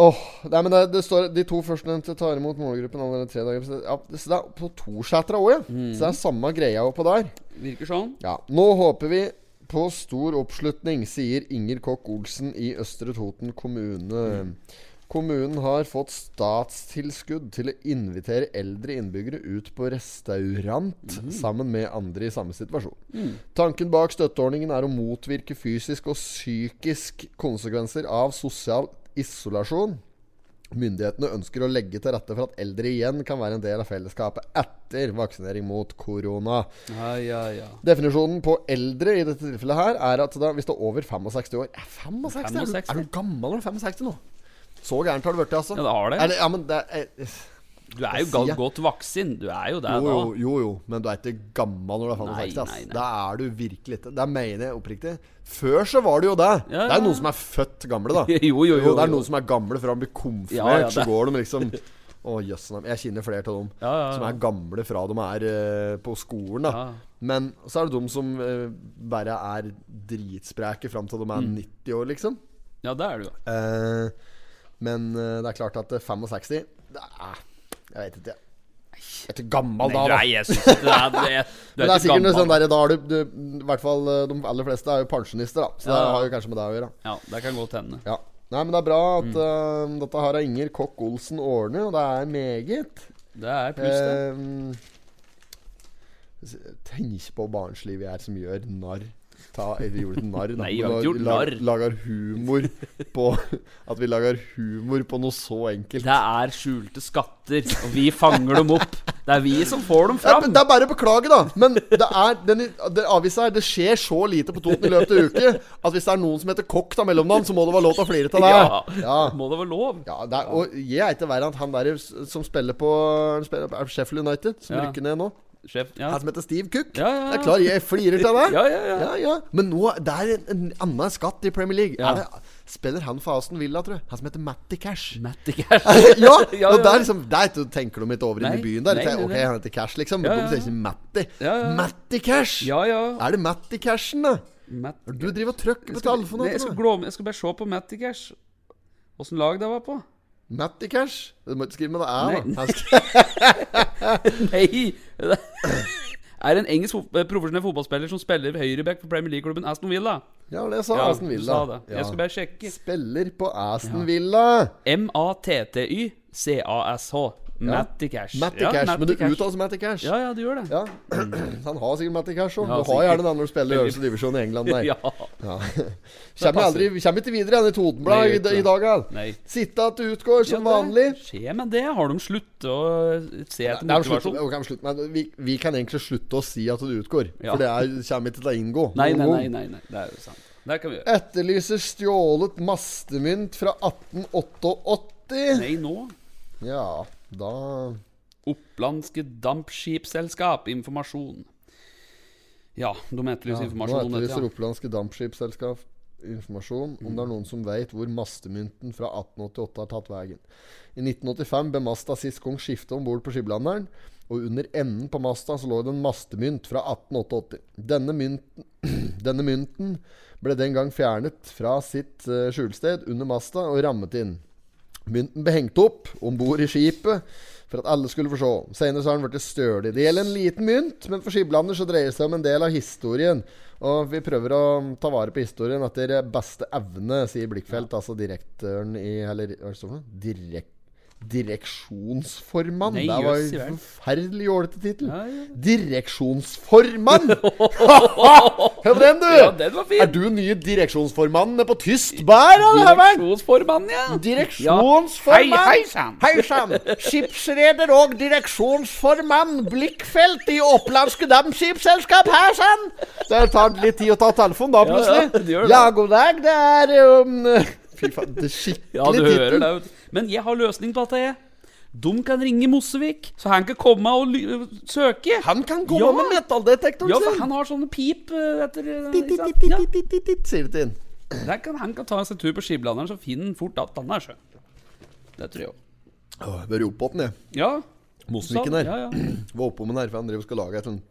Speaker 1: Åh, nei, men det, det står De to førstnevnte tar imot målgruppen allerede tre dager. Så det, ja, så det er på Torsetra òg, ja.
Speaker 2: Mm.
Speaker 1: Så det er samme greia oppå der.
Speaker 2: Virker sånn.
Speaker 1: Ja, Nå håper vi på stor oppslutning, sier Inger Kokk Olsen i Østre Toten kommune. Kommunen har fått statstilskudd til å invitere eldre innbyggere ut på restaurant sammen med andre i samme situasjon. Tanken bak støtteordningen er å motvirke fysisk og psykisk konsekvenser av sosial isolasjon. Myndighetene ønsker å legge til rette for at eldre igjen kan være en del av fellesskapet etter vaksinering mot korona.
Speaker 2: Ja, ja, ja.
Speaker 1: Definisjonen på eldre i dette tilfellet her er at da, hvis du er over 65 år Er 65? Er,
Speaker 2: 65?
Speaker 1: du, er du gammel når du er 65 nå? Så gærent har det blitt, altså.
Speaker 2: Ja, det har det.
Speaker 1: Er ja, men det er,
Speaker 2: Du er jo
Speaker 1: Hva sier
Speaker 2: ga-
Speaker 1: jeg?
Speaker 2: godt voksen. Du er jo det
Speaker 1: jo,
Speaker 2: da.
Speaker 1: jo, jo, jo, men du er ikke gammel når du er 65. ass.
Speaker 2: nei, nei.
Speaker 1: Da er du virkelig ikke Det mener jeg oppriktig. Før så var det jo det.
Speaker 2: Ja,
Speaker 1: Det
Speaker 2: ja.
Speaker 1: er noen som er født gamle, da.
Speaker 2: Jo, jo, jo,
Speaker 1: Det er
Speaker 2: jo.
Speaker 1: noen som er gamle fra de blir konfirmert,
Speaker 2: Ja, ja,
Speaker 1: så
Speaker 2: det-
Speaker 1: går de liksom Å, jøss. nei, jeg kjenner flere av dem
Speaker 2: Ja, ja, ja.
Speaker 1: som er gamle fra de er eh, på skolen. da
Speaker 2: Ja.
Speaker 1: Men så er det de som eh, bare er dritspreke fram til de er
Speaker 2: Mm.
Speaker 1: 90 år, liksom.
Speaker 2: Ja, det er du. ja.
Speaker 1: Eh, men eh, det er klart at eh, 65 Det er Jeg vet ikke. Jeg er ikke gammel da,
Speaker 2: Nei,
Speaker 1: da.
Speaker 2: du er Jesus. Du er, du er, du
Speaker 1: Men det
Speaker 2: er
Speaker 1: er sikkert noe
Speaker 2: gammel.
Speaker 1: sånn der, da har du, du I hvert fall eh, de aller fleste er jo pensjonister, da. Så
Speaker 2: Ja,
Speaker 1: det
Speaker 2: ja.
Speaker 1: har jo kanskje med det å gjøre.
Speaker 2: Ja, det kan godt hende.
Speaker 1: Ja. Nei, men det er bra
Speaker 2: Mm.
Speaker 1: at eh, dette her har Inger Kokk Olsen ordnet, og det er meget.
Speaker 2: Det er pluss, det.
Speaker 1: Uh, eh, tenk på barnslivet jeg er som gjør narr. Ta, eller gjorde det narr, da.
Speaker 2: Nei, jeg
Speaker 1: men
Speaker 2: har ikke
Speaker 1: la-
Speaker 2: gjort
Speaker 1: la-
Speaker 2: narr.
Speaker 1: Lager humor på At vi lager humor på noe så enkelt.
Speaker 2: Det er skjulte skatter, og vi fanger dem opp. Det er vi som får dem
Speaker 1: Ja, men
Speaker 2: fram.
Speaker 1: det er bare å beklage, da. Men det er den, det avisa her Det skjer så lite på Toten i løpet av uke at hvis det er noen som heter Kokk til mellomnavn, så må det være lov til å flire av det.
Speaker 2: Ja.
Speaker 1: Ja.
Speaker 2: Må det være lov?
Speaker 1: Ja, det er, og jeg er ikke verre enn han der som spiller på han spiller, er det Sheffield United, som
Speaker 2: Ja.
Speaker 1: rykker ned nå.
Speaker 2: Sjef, ja.
Speaker 1: Han som heter Steve Cook.
Speaker 2: Ja, ja, ja.
Speaker 1: Det er klar, jeg flirer til deg.
Speaker 2: Ja, ja, ja.
Speaker 1: Men nå det er en, en annen skatt i Premier League. Er
Speaker 2: Ja.
Speaker 1: det, spiller han for Aston Villa, tror jeg? Han som heter Matty Cash.
Speaker 2: Matty Cash.
Speaker 1: ja,
Speaker 2: Ja,
Speaker 1: og
Speaker 2: ja,
Speaker 1: der,
Speaker 2: ja.
Speaker 1: liksom, der t- tenker de ikke over inne
Speaker 2: Nei,
Speaker 1: i byen. der
Speaker 2: nei,
Speaker 1: tenker,
Speaker 2: nei,
Speaker 1: Ok,
Speaker 2: nei.
Speaker 1: han heter Cash, liksom.
Speaker 2: Ja, ja,
Speaker 1: De
Speaker 2: ja.
Speaker 1: sier ikke Matty.
Speaker 2: Ja, ja, ja.
Speaker 1: Matty Cash!
Speaker 2: Ja, ja.
Speaker 1: Er det Matty Cashen, da?
Speaker 2: Matt...
Speaker 1: Du driver og trykker
Speaker 2: Jeg
Speaker 1: på
Speaker 2: skal, nei,
Speaker 1: telefonen.
Speaker 2: jeg,
Speaker 1: vet
Speaker 2: skal
Speaker 1: du.
Speaker 2: glå- jeg skal bare se på Matty Cash. Åssen lag det var på?
Speaker 1: Matty Cash? Du må ikke skrive med det æ,
Speaker 2: Nei.
Speaker 1: da. Han sk-
Speaker 2: Nei! Det er en engelsk fot- eh, profesjonell fotballspiller som spiller høyreback for Premier League-klubben Aston Villa.
Speaker 1: Ja, det sa Aston
Speaker 2: Du
Speaker 1: Villa.
Speaker 2: sa det.
Speaker 1: Ja.
Speaker 2: Jeg skal bare sjekke.
Speaker 1: Spiller på Aston Villa.
Speaker 2: M-A-T-T-Y-C-A-S-H. Matty Cash.
Speaker 1: Matty
Speaker 2: Ja,
Speaker 1: Cash. men du
Speaker 2: Matty Cash.
Speaker 1: uttaler Matty Cash.
Speaker 2: Ja, ja, du gjør det.
Speaker 1: Ja. Så han har sikkert Matty Cash òg.
Speaker 2: Ja,
Speaker 1: du har
Speaker 2: sikkert.
Speaker 1: gjerne den når du spiller i øverste divisjon i England. Nei.
Speaker 2: Ja.
Speaker 1: Ja. Kommer aldri Kommer ikke videre igjen i
Speaker 2: Nei,
Speaker 1: Totenbladet i,
Speaker 2: vet du.
Speaker 1: i dag. al.
Speaker 2: Nei.
Speaker 1: Sitte at du utgår som
Speaker 2: Ja, det
Speaker 1: vanlig.
Speaker 2: Skjer med det? Har de sluttet å se
Speaker 1: Nei,
Speaker 2: etter
Speaker 1: det er jo slutt,
Speaker 2: motivasjon?
Speaker 1: ok, men slutt, men vi, vi kan egentlig slutte å si at du utgår,
Speaker 2: Ja.
Speaker 1: for det er, kommer ikke til å inngå.
Speaker 2: Nei,
Speaker 1: noen
Speaker 2: nei,
Speaker 1: gang.
Speaker 2: nei, nei, nei. Det er jo sant. Det kan vi gjøre.
Speaker 1: Etterlyser stjålet mastemynt fra 1888.
Speaker 2: Nei, nå?
Speaker 1: Ja, da
Speaker 2: Opplandske Dampskipsselskap. Informasjon. Ja, de etterlyser
Speaker 1: Nå
Speaker 2: informasjon om dette.
Speaker 1: etterlyser
Speaker 2: Ja.
Speaker 1: opplandske dampskipsselskap informasjon om det er noen som veit hvor mastemynten fra 1888 har tatt veien. I 1985 ble masta sist kong skiftet om bord på Skiblanderen, og under enden på masta så lå det en mastemynt fra 1888. Denne mynten, denne mynten ble den gang fjernet fra sitt eh, skjulsted under masta og rammet inn. Mynten ble hengt opp om bord i skipet for at alle skulle få se. Senere så har den blitt stølig. Det gjelder en liten mynt, men for Skiblander så dreier det seg om en del av historien. Og vi prøver å ta vare på historien etter beste evne, sier Blikkfelt, altså direktøren i Eller hva står det? for noe? Direk, direksjonsformann.
Speaker 2: Nei,
Speaker 1: det var
Speaker 2: jøss, i
Speaker 1: jo
Speaker 2: verden.
Speaker 1: forferdelig jålete tittel.
Speaker 2: Ja, ja.
Speaker 1: Direksjonsformann! Hør på den, du!
Speaker 2: ja, den var
Speaker 1: er
Speaker 2: fin!
Speaker 1: du nye direksjonsformannen på tyst bær, eller? Herman?
Speaker 2: Direksjonsformann, ja.
Speaker 1: Direksjonsformann!
Speaker 2: Ja. Hei, hei sann!
Speaker 1: Hei sann! Skipsreder og direksjonsformann Blikkfelt i Opplandske Dampskipsselskap, her sann! Det tar litt tid å ta telefonen da,
Speaker 2: Ja, ja,
Speaker 1: plutselig.
Speaker 2: det gjør det.
Speaker 1: god dag, det er um, Fy faen, det er skikkelig
Speaker 2: Ja, du hører
Speaker 1: tittel.
Speaker 2: det. vet du. Men jeg har løsning på dette, jeg. De kan ringe Mosevik, så han kan komme og ly søke.
Speaker 1: Han kan komme
Speaker 2: Ja.
Speaker 1: med metalldetektoren
Speaker 2: Ja, for
Speaker 1: sin!
Speaker 2: han har sånne pip eh, etter eh,
Speaker 1: Titt,
Speaker 2: ikke
Speaker 1: titt,
Speaker 2: sant?
Speaker 1: titt,
Speaker 2: Ja,
Speaker 1: titt, titt, titt, titt, Sier det til han.
Speaker 2: der kan, Han kan ta seg tur på skiblanderen, så finner han fort at han er sjø. Det tror jeg òg.
Speaker 1: Åh, jeg Bør rope opp den, jeg.
Speaker 2: Ja.
Speaker 1: Mosviken
Speaker 2: Så-
Speaker 1: her.
Speaker 2: Sånn, Ja, ja.
Speaker 1: Var oppom en her, for han drev og skulle lage et sånt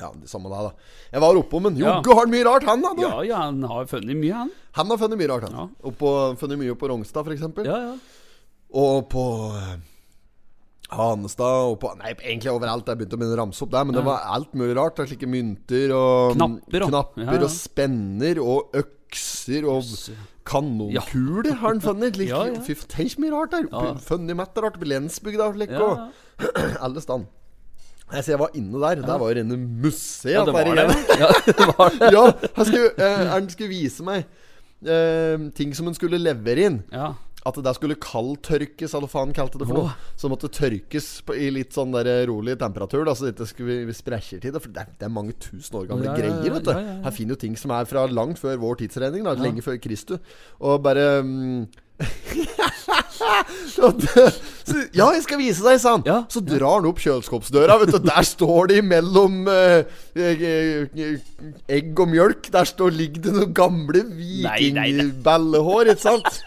Speaker 1: Ja, det samme det, da. Jeg var oppom en.
Speaker 2: Ja.
Speaker 1: Jogge har han mye rart, han, da! du.
Speaker 2: ja, ja, han har funnet mye, han.
Speaker 1: Han har funnet mye rart, han.
Speaker 2: Ja.
Speaker 1: Og på, funnet mye på Rognstad, f.eks. eksempel
Speaker 2: Ja, ja.
Speaker 1: Og på eh, Hanestad og på Nei, egentlig overalt. Jeg begynte å begynne å ramse opp der, men det var alt mulig rart. Det er slike mynter og
Speaker 2: Knapper og-
Speaker 1: knapper
Speaker 2: ja, ja.
Speaker 1: og spenner og økser og kanonkuler har han funnet. Like,
Speaker 2: Ja, ja.
Speaker 1: Fy faen, tenk så mye rart der.
Speaker 2: Ja.
Speaker 1: Funnet matte rart på Lensbygda og slik.
Speaker 2: Ja, ja.
Speaker 1: Og alle stand. Nei, så jeg var inne der. Der var jo rene museet.
Speaker 2: Ja, det
Speaker 1: der
Speaker 2: var
Speaker 1: igjen.
Speaker 2: det. Ja, det var det.
Speaker 1: ja, han skulle, eh, han skulle vise meg eh, ting som han skulle levere inn.
Speaker 2: Ja.
Speaker 1: At det der skulle kaldtørkes, eller hva faen kalte det for noe. Som måtte tørkes på, i litt sånn der rolig temperatur, da, så det ikke skulle vi sprekker til det. For det er, det er mange tusen år gamle
Speaker 2: Ja, ja, ja,
Speaker 1: greier, vet du.
Speaker 2: ja, ja, ja.
Speaker 1: Her finner du ting som er fra langt før vår tidsregning, da, lenge før Kristus. Og bare mm, så det- så, ja, jeg skal vise deg, sa han.
Speaker 2: Ja.
Speaker 1: Så drar han opp kjøleskapsdøra. Vet du, der står det imellom eh, eh, eh, egg og mjølk. Der står, ligger det noen gamle
Speaker 2: Nei, nei, nei.
Speaker 1: vikingballehår, ikke sant?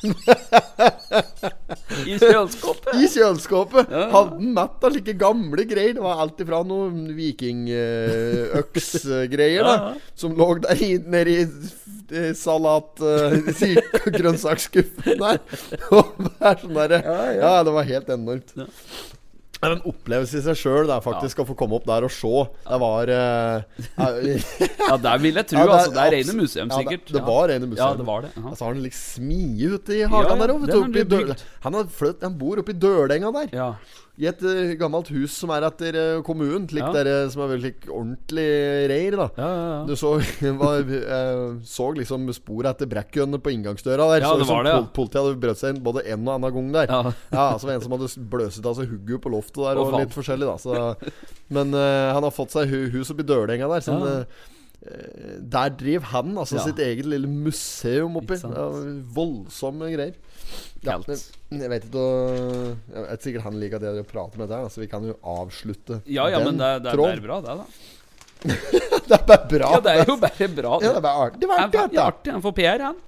Speaker 2: I kjøleskapet.
Speaker 1: I kjøleskapet.
Speaker 2: Ja, ja.
Speaker 1: Hadde han mett av slike gamle greier. Det var alt ifra noen vikingøksgreier
Speaker 2: Ja,
Speaker 1: da
Speaker 2: ja.
Speaker 1: som lå der i- nede i eh, salat eh, syk- og grønnsaksskuffen der. Og det er sånn derre ja, det var helt enormt.
Speaker 2: Ja.
Speaker 1: Det er en opplevelse i seg sjøl, faktisk, å få komme opp der og se. Det var eh, ja,
Speaker 2: Ja, der vil jeg tro.
Speaker 1: Ja, det er
Speaker 2: altså, det er rene
Speaker 1: absolutt-
Speaker 2: museum,
Speaker 1: ja, det-
Speaker 2: sikkert.
Speaker 1: det var rene
Speaker 2: Ja,
Speaker 1: museum.
Speaker 2: det var det. Ja.
Speaker 1: Altså har han liksom smie ute i
Speaker 2: Ja, ja,
Speaker 1: hagen der òg,
Speaker 2: den har
Speaker 1: vet du.
Speaker 2: blitt
Speaker 1: oppi Døl-
Speaker 2: bygd.
Speaker 1: Han, har flytt- han bor oppi Dølenga der.
Speaker 2: ja.
Speaker 1: I et eh, gammelt hus som er etter eh, kommunen, slik
Speaker 2: Ja.
Speaker 1: der, eh, som er veldig slik ordentlig reir, da.
Speaker 2: Ja, ja, ja.
Speaker 1: Du så, var, eh, så liksom spor etter brekkjønene på inngangsdøra der.
Speaker 2: Ja,
Speaker 1: så
Speaker 2: det
Speaker 1: ut som
Speaker 2: var det, ja.
Speaker 1: pol- Politiet hadde brøt seg inn både en og annen gang der.
Speaker 2: Ja.
Speaker 1: så var det en som hadde s- bløset av seg hugget på loftet der,
Speaker 2: Å,
Speaker 1: og
Speaker 2: faen.
Speaker 1: litt forskjellig, da. Så, men eh, han har fått seg hu hus oppi Dølenga der. Sånn, eh,
Speaker 2: Ja.
Speaker 1: eh, der driver han altså
Speaker 2: Ja.
Speaker 1: sitt eget lille museum oppi.
Speaker 2: Ikke sant.
Speaker 1: Ja, voldsomme greier. Ja,
Speaker 2: Kaldt.
Speaker 1: men jeg vet ikke å- Jeg vet sikkert han liker at jeg driver og prater med deg, da, så vi kan jo avslutte
Speaker 2: ja, ja, men det, det, er- det er
Speaker 1: tråden.
Speaker 2: bra, det, da.
Speaker 1: Det er bare bra.
Speaker 2: Ja, det er jo bare bra.
Speaker 1: Ja, det er bare artig. Det var
Speaker 2: Han
Speaker 1: artig,
Speaker 2: er
Speaker 1: dette.
Speaker 2: artig, han får PR, han.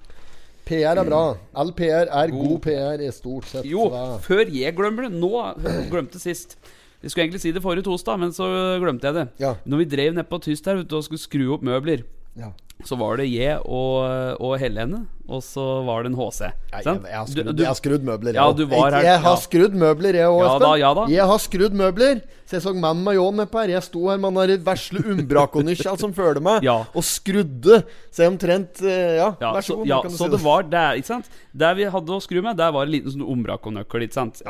Speaker 1: PR er bra. All PR er god, PR i stort sett.
Speaker 2: Mm. Jo,
Speaker 1: hva-
Speaker 2: før jeg glemmer det. Nå glemte sist. Jeg skulle egentlig si det forrige torsdag, men så glemte jeg det.
Speaker 1: Ja.
Speaker 2: Når vi drev nedpå tyst her ute og skulle skru opp møbler,
Speaker 1: ja.
Speaker 2: så var det jeg og, og Helene, og så var det en HC.
Speaker 1: Jeg, jeg,
Speaker 2: sant?
Speaker 1: jeg, har
Speaker 2: Du-
Speaker 1: skrudd,
Speaker 2: du-
Speaker 1: jeg har skrudd møbler,
Speaker 2: Ja,
Speaker 1: også.
Speaker 2: du var her-
Speaker 1: jeg, jeg har
Speaker 2: ja.
Speaker 1: skrudd møbler, jeg òg,
Speaker 2: Ja da, ja da.
Speaker 1: Jeg har skrudd møbler. Så jeg så mannen med ljåen nedpå her. Jeg sto her med han der vesle umbrakonysja som følger meg,
Speaker 2: Ja.
Speaker 1: og skrudde. Så jeg omtrent eh, Ja,
Speaker 2: ja,
Speaker 1: vær så god.
Speaker 2: Så, ja,
Speaker 1: kan du
Speaker 2: så
Speaker 1: si
Speaker 2: det var der, ikke sant? Der vi hadde å skru med, der var en liten sånn ombrakonøkkel, ikke sant?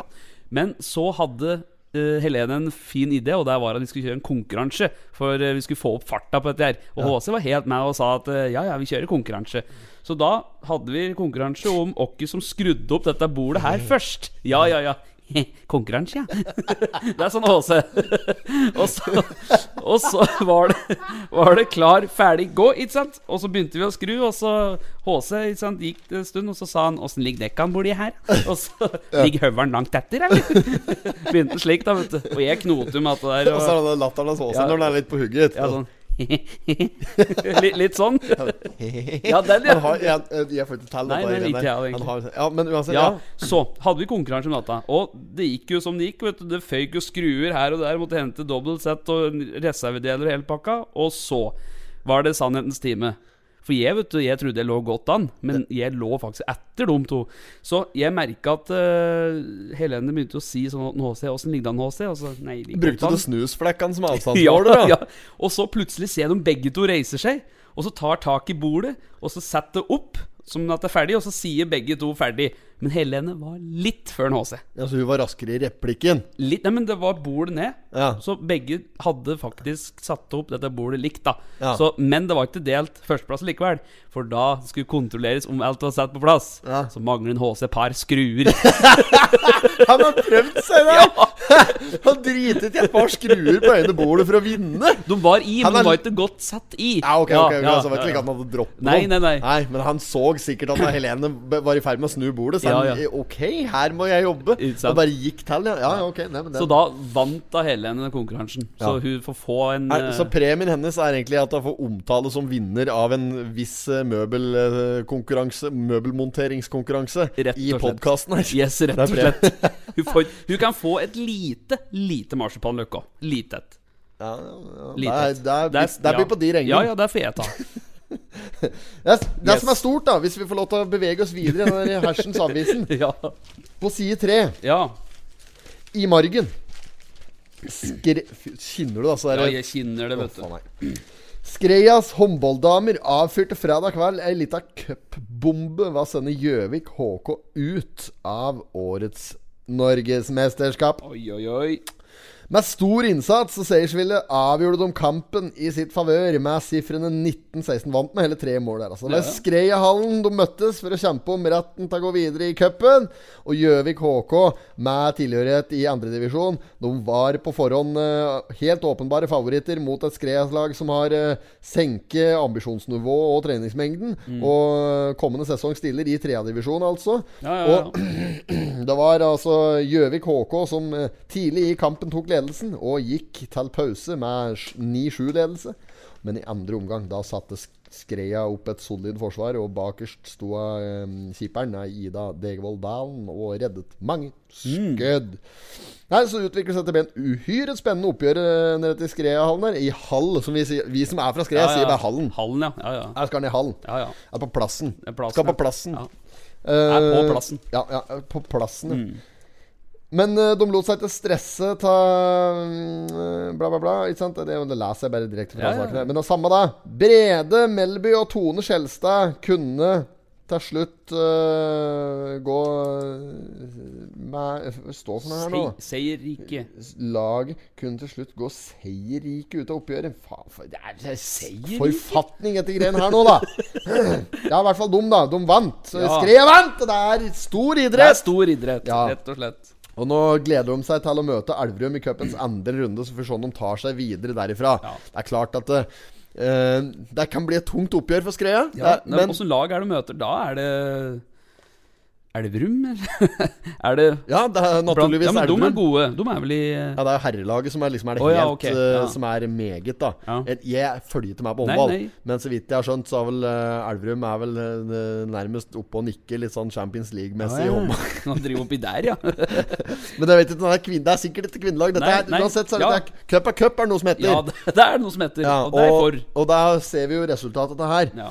Speaker 2: Men så hadde eh, Helene en fin idé, og der var at vi skulle kjøre en konkurranse. For eh, vi skulle få opp farta på dette her. Og HC var helt med og sa at eh, ja, ja, vi kjører konkurranse. Så da hadde vi konkurranse om hvem som skrudde opp dette bordet her først. Ja, ja, ja. Konkurranse, ja. Det er sånn Åse. Og så, og så var, det, var det klar, ferdig, gå, ikke sant? Og så begynte vi å skru, og så HC ikke sant, gikk det en stund, og så sa han 'Åssen ligger dekkene borti her?' Og så ligger høvelen langt etter, eller? Begynte han slik, da, vet du. Og jeg knoter med det der.
Speaker 1: Og så er det den latteren hans også
Speaker 2: Ja.
Speaker 1: når den er litt på hugget.
Speaker 2: ja, sånn. litt, litt sånn. Ja, den,
Speaker 1: Han
Speaker 2: ja.
Speaker 1: har, jeg, jeg, jeg får ikke telle
Speaker 2: Nei,
Speaker 1: dette
Speaker 2: nei,
Speaker 1: greiene
Speaker 2: ikke
Speaker 1: her.
Speaker 2: jeg, egentlig.
Speaker 1: Han har, ja, men uansett,
Speaker 2: Ja,
Speaker 1: ja.
Speaker 2: så hadde vi konkurranse om natta. Og det gikk jo som det gikk. vet du Det føyk jo skruer her og der. Måtte hente dobbelt sett og reservedeler og hele pakka. Og så var det sannhetens time. For jeg vet du, jeg trodde jeg lå godt an, men jeg lå faktisk etter de to. Så jeg merka at eh, Helene begynte å si sånn at, HC, åssen ligger det an, HC? Og så, nei, jeg ligger godt
Speaker 1: Brukte
Speaker 2: an.
Speaker 1: du snusflekkene som
Speaker 2: Ja,
Speaker 1: avstandsmåler, da?
Speaker 2: ja. Og så plutselig ser de begge to reiser seg, og så tar tak i bordet, og så setter det opp som at det er ferdig, og så sier begge to ferdig. Men Helene var litt før en HC.
Speaker 1: Ja, så Altså, hun var raskere i replikken.
Speaker 2: Litt, nei, men det var bordet ned,
Speaker 1: Ja.
Speaker 2: så begge hadde faktisk satt opp dette bordet likt, da.
Speaker 1: Ja.
Speaker 2: Så, men det var ikke delt førsteplass likevel, for da skulle kontrolleres om alt var satt på plass.
Speaker 1: Ja.
Speaker 2: Så mangler en HC par skruer.
Speaker 1: Han har prøvd seg der! Han dritet i et par skruer på øynene bordet for å vinne!
Speaker 2: De var i,
Speaker 1: Han
Speaker 2: men
Speaker 1: er-
Speaker 2: de var ikke godt satt i.
Speaker 1: Ja, ok, ok, ok,
Speaker 2: ja,
Speaker 1: så det var ikke
Speaker 2: ja,
Speaker 1: like at han hadde droppet
Speaker 2: Nei,
Speaker 1: noen.
Speaker 2: nei, nei.
Speaker 1: Men han så sikkert at da Helene b- var i ferd med å snu bordet, så
Speaker 2: Ja,
Speaker 1: han
Speaker 2: ja.
Speaker 1: Ok, her må jeg jobbe.
Speaker 2: Ikke sant.
Speaker 1: Han bare gikk til, ja. ja ja, ok, nei, men den.
Speaker 2: Så da vant da Helene den konkurransen. Så
Speaker 1: Ja.
Speaker 2: hun får få en
Speaker 1: er, Så
Speaker 2: eh,
Speaker 1: premien hennes er egentlig at hun får omtale som vinner av en viss eh, møbelkonkurranse, møbelmonteringskonkurranse,
Speaker 2: Rett
Speaker 1: i
Speaker 2: og slett.
Speaker 1: podkasten her.
Speaker 2: Yes, rett
Speaker 1: Det
Speaker 2: og
Speaker 1: er premie.
Speaker 2: slett. Hun, får, hun kan få et lite, lite marsipanløk òg. Lite et.
Speaker 1: Ja, ja,
Speaker 2: Lite
Speaker 1: ja.
Speaker 2: et.
Speaker 1: Det er- det er- det blir på de regningene.
Speaker 2: Ja, ja, det får jeg ta.
Speaker 1: Det, er- det
Speaker 2: Yes.
Speaker 1: som er stort, da, hvis vi får lov til å bevege oss videre i den der hersens avisen
Speaker 2: Ja.
Speaker 1: På side tre,
Speaker 2: ja.
Speaker 1: i margen Skre... Fy, Kjenner du det, altså?
Speaker 2: ja
Speaker 1: der-
Speaker 2: jeg kjenner det,
Speaker 1: Å,
Speaker 2: vet du.
Speaker 1: faen, nei. Skreias håndballdamer avfyrte fredag kveld ei lita cupbombe ved å sende Gjøvik HK ut av årets Norgesmesterskap.
Speaker 2: Oi, oi, oi.
Speaker 1: Med stor innsats og seiersvilje avgjorde de kampen i sitt favør med sifrene 19-16. Vant med hele tre mål der, altså. Det
Speaker 2: Ja,
Speaker 1: var
Speaker 2: ja.
Speaker 1: Skreiahallen de møttes for å kjempe om retten til å gå videre i cupen. Og Gjøvik HK, med tilhørighet i andredivisjon, de var på forhånd eh, helt åpenbare favoritter mot et Skreias-lag som har eh, senket ambisjonsnivå og treningsmengden.
Speaker 2: Mm.
Speaker 1: Og eh, kommende sesong stiller i tredjedivisjon, altså.
Speaker 2: Ja, ja, ja.
Speaker 1: Og det var altså Gjøvik HK som eh, tidlig i kampen tok ledelsen, og gikk til pause med sj- 9-7-ledelse. Men i andre omgang da satte Sk- Skreia opp et solid forsvar, og bakerst sto eh, keeperen nei, Ida Degevold Dalen og reddet mange
Speaker 2: Mm.
Speaker 1: skudd. Nei, Så utvikles dette med en uhyre spennende oppgjør eh, nede til Skreia-hallen her. I hall, som vi sier. Vi som er fra Skreia,
Speaker 2: Ja, ja.
Speaker 1: sier bare hallen.
Speaker 2: Hallen, ja. Ja, ja.
Speaker 1: Her skal han i hallen.
Speaker 2: ja, ja.
Speaker 1: Er på plassen.
Speaker 2: Det er plassen,
Speaker 1: skal
Speaker 2: ja.
Speaker 1: på plassen.
Speaker 2: Ja.
Speaker 1: Eh,
Speaker 2: Er på plassen. Mm.
Speaker 1: Ja, ja er på plassen. ja. Men eh, de lot seg ikke stresse ta mm, bla, bla, bla. Ikke sant? Det, det leser jeg bare direkte fra
Speaker 2: Ja, ja, ja.
Speaker 1: saken. her. Men det er samme, da. Brede Melby og Tone Skjelstad kunne til slutt eh, gå med Stå sånn her nå.
Speaker 2: Se- Seierrike.
Speaker 1: Laget kunne til slutt gå seierrike ut av oppgjøret. Faen, for det er
Speaker 2: Seierrike?
Speaker 1: forfatning etter greien her nå, da. Ja, i hvert fall dum, da. De vant. Ja.
Speaker 2: Ja.
Speaker 1: Skrev vant! og Det er stor
Speaker 2: Det er
Speaker 1: idrett!
Speaker 2: stor idrett,
Speaker 1: Ja.
Speaker 2: rett og slett.
Speaker 1: Og nå gleder de seg til å møte Elverum i cupens andre runde, så får vi se om de tar seg videre derifra.
Speaker 2: Ja.
Speaker 1: Det er klart at det, eh, det kan bli et tungt oppgjør for Skreia.
Speaker 2: Ja,
Speaker 1: Det er-
Speaker 2: men åssen lag er det du møter? Da er det Elverum, eller? er det
Speaker 1: ja, det er naturligvis
Speaker 2: ja, men
Speaker 1: Elverum.
Speaker 2: De er gode. De er vel i
Speaker 1: Ja, det er herrelaget som er, liksom er det
Speaker 2: Å,
Speaker 1: helt
Speaker 2: ja, ok, ja.
Speaker 1: eh, Som er meget, da.
Speaker 2: Ja.
Speaker 1: Jeg, jeg følger ikke med på
Speaker 2: Nei,
Speaker 1: håndball,
Speaker 2: nei.
Speaker 1: men så vidt jeg har skjønt, så er vel eh, Elverum er vel eh, nærmest oppe og nikker litt sånn Champions League-messig i håndball.
Speaker 2: Nå driver oppi der, ja.
Speaker 1: Men jeg vet ikke, den er kvinn, det er sikkert ikke kvinnelag. Dette
Speaker 2: Nei,
Speaker 1: er,
Speaker 2: nei,
Speaker 1: uansett, så er det,
Speaker 2: ja.
Speaker 1: det er, cup er cup, er det noe som heter.
Speaker 2: Ja, det, det er noe som heter
Speaker 1: Ja,
Speaker 2: Og det er for.
Speaker 1: og, og da ser vi jo resultatet av det her.
Speaker 2: Ja.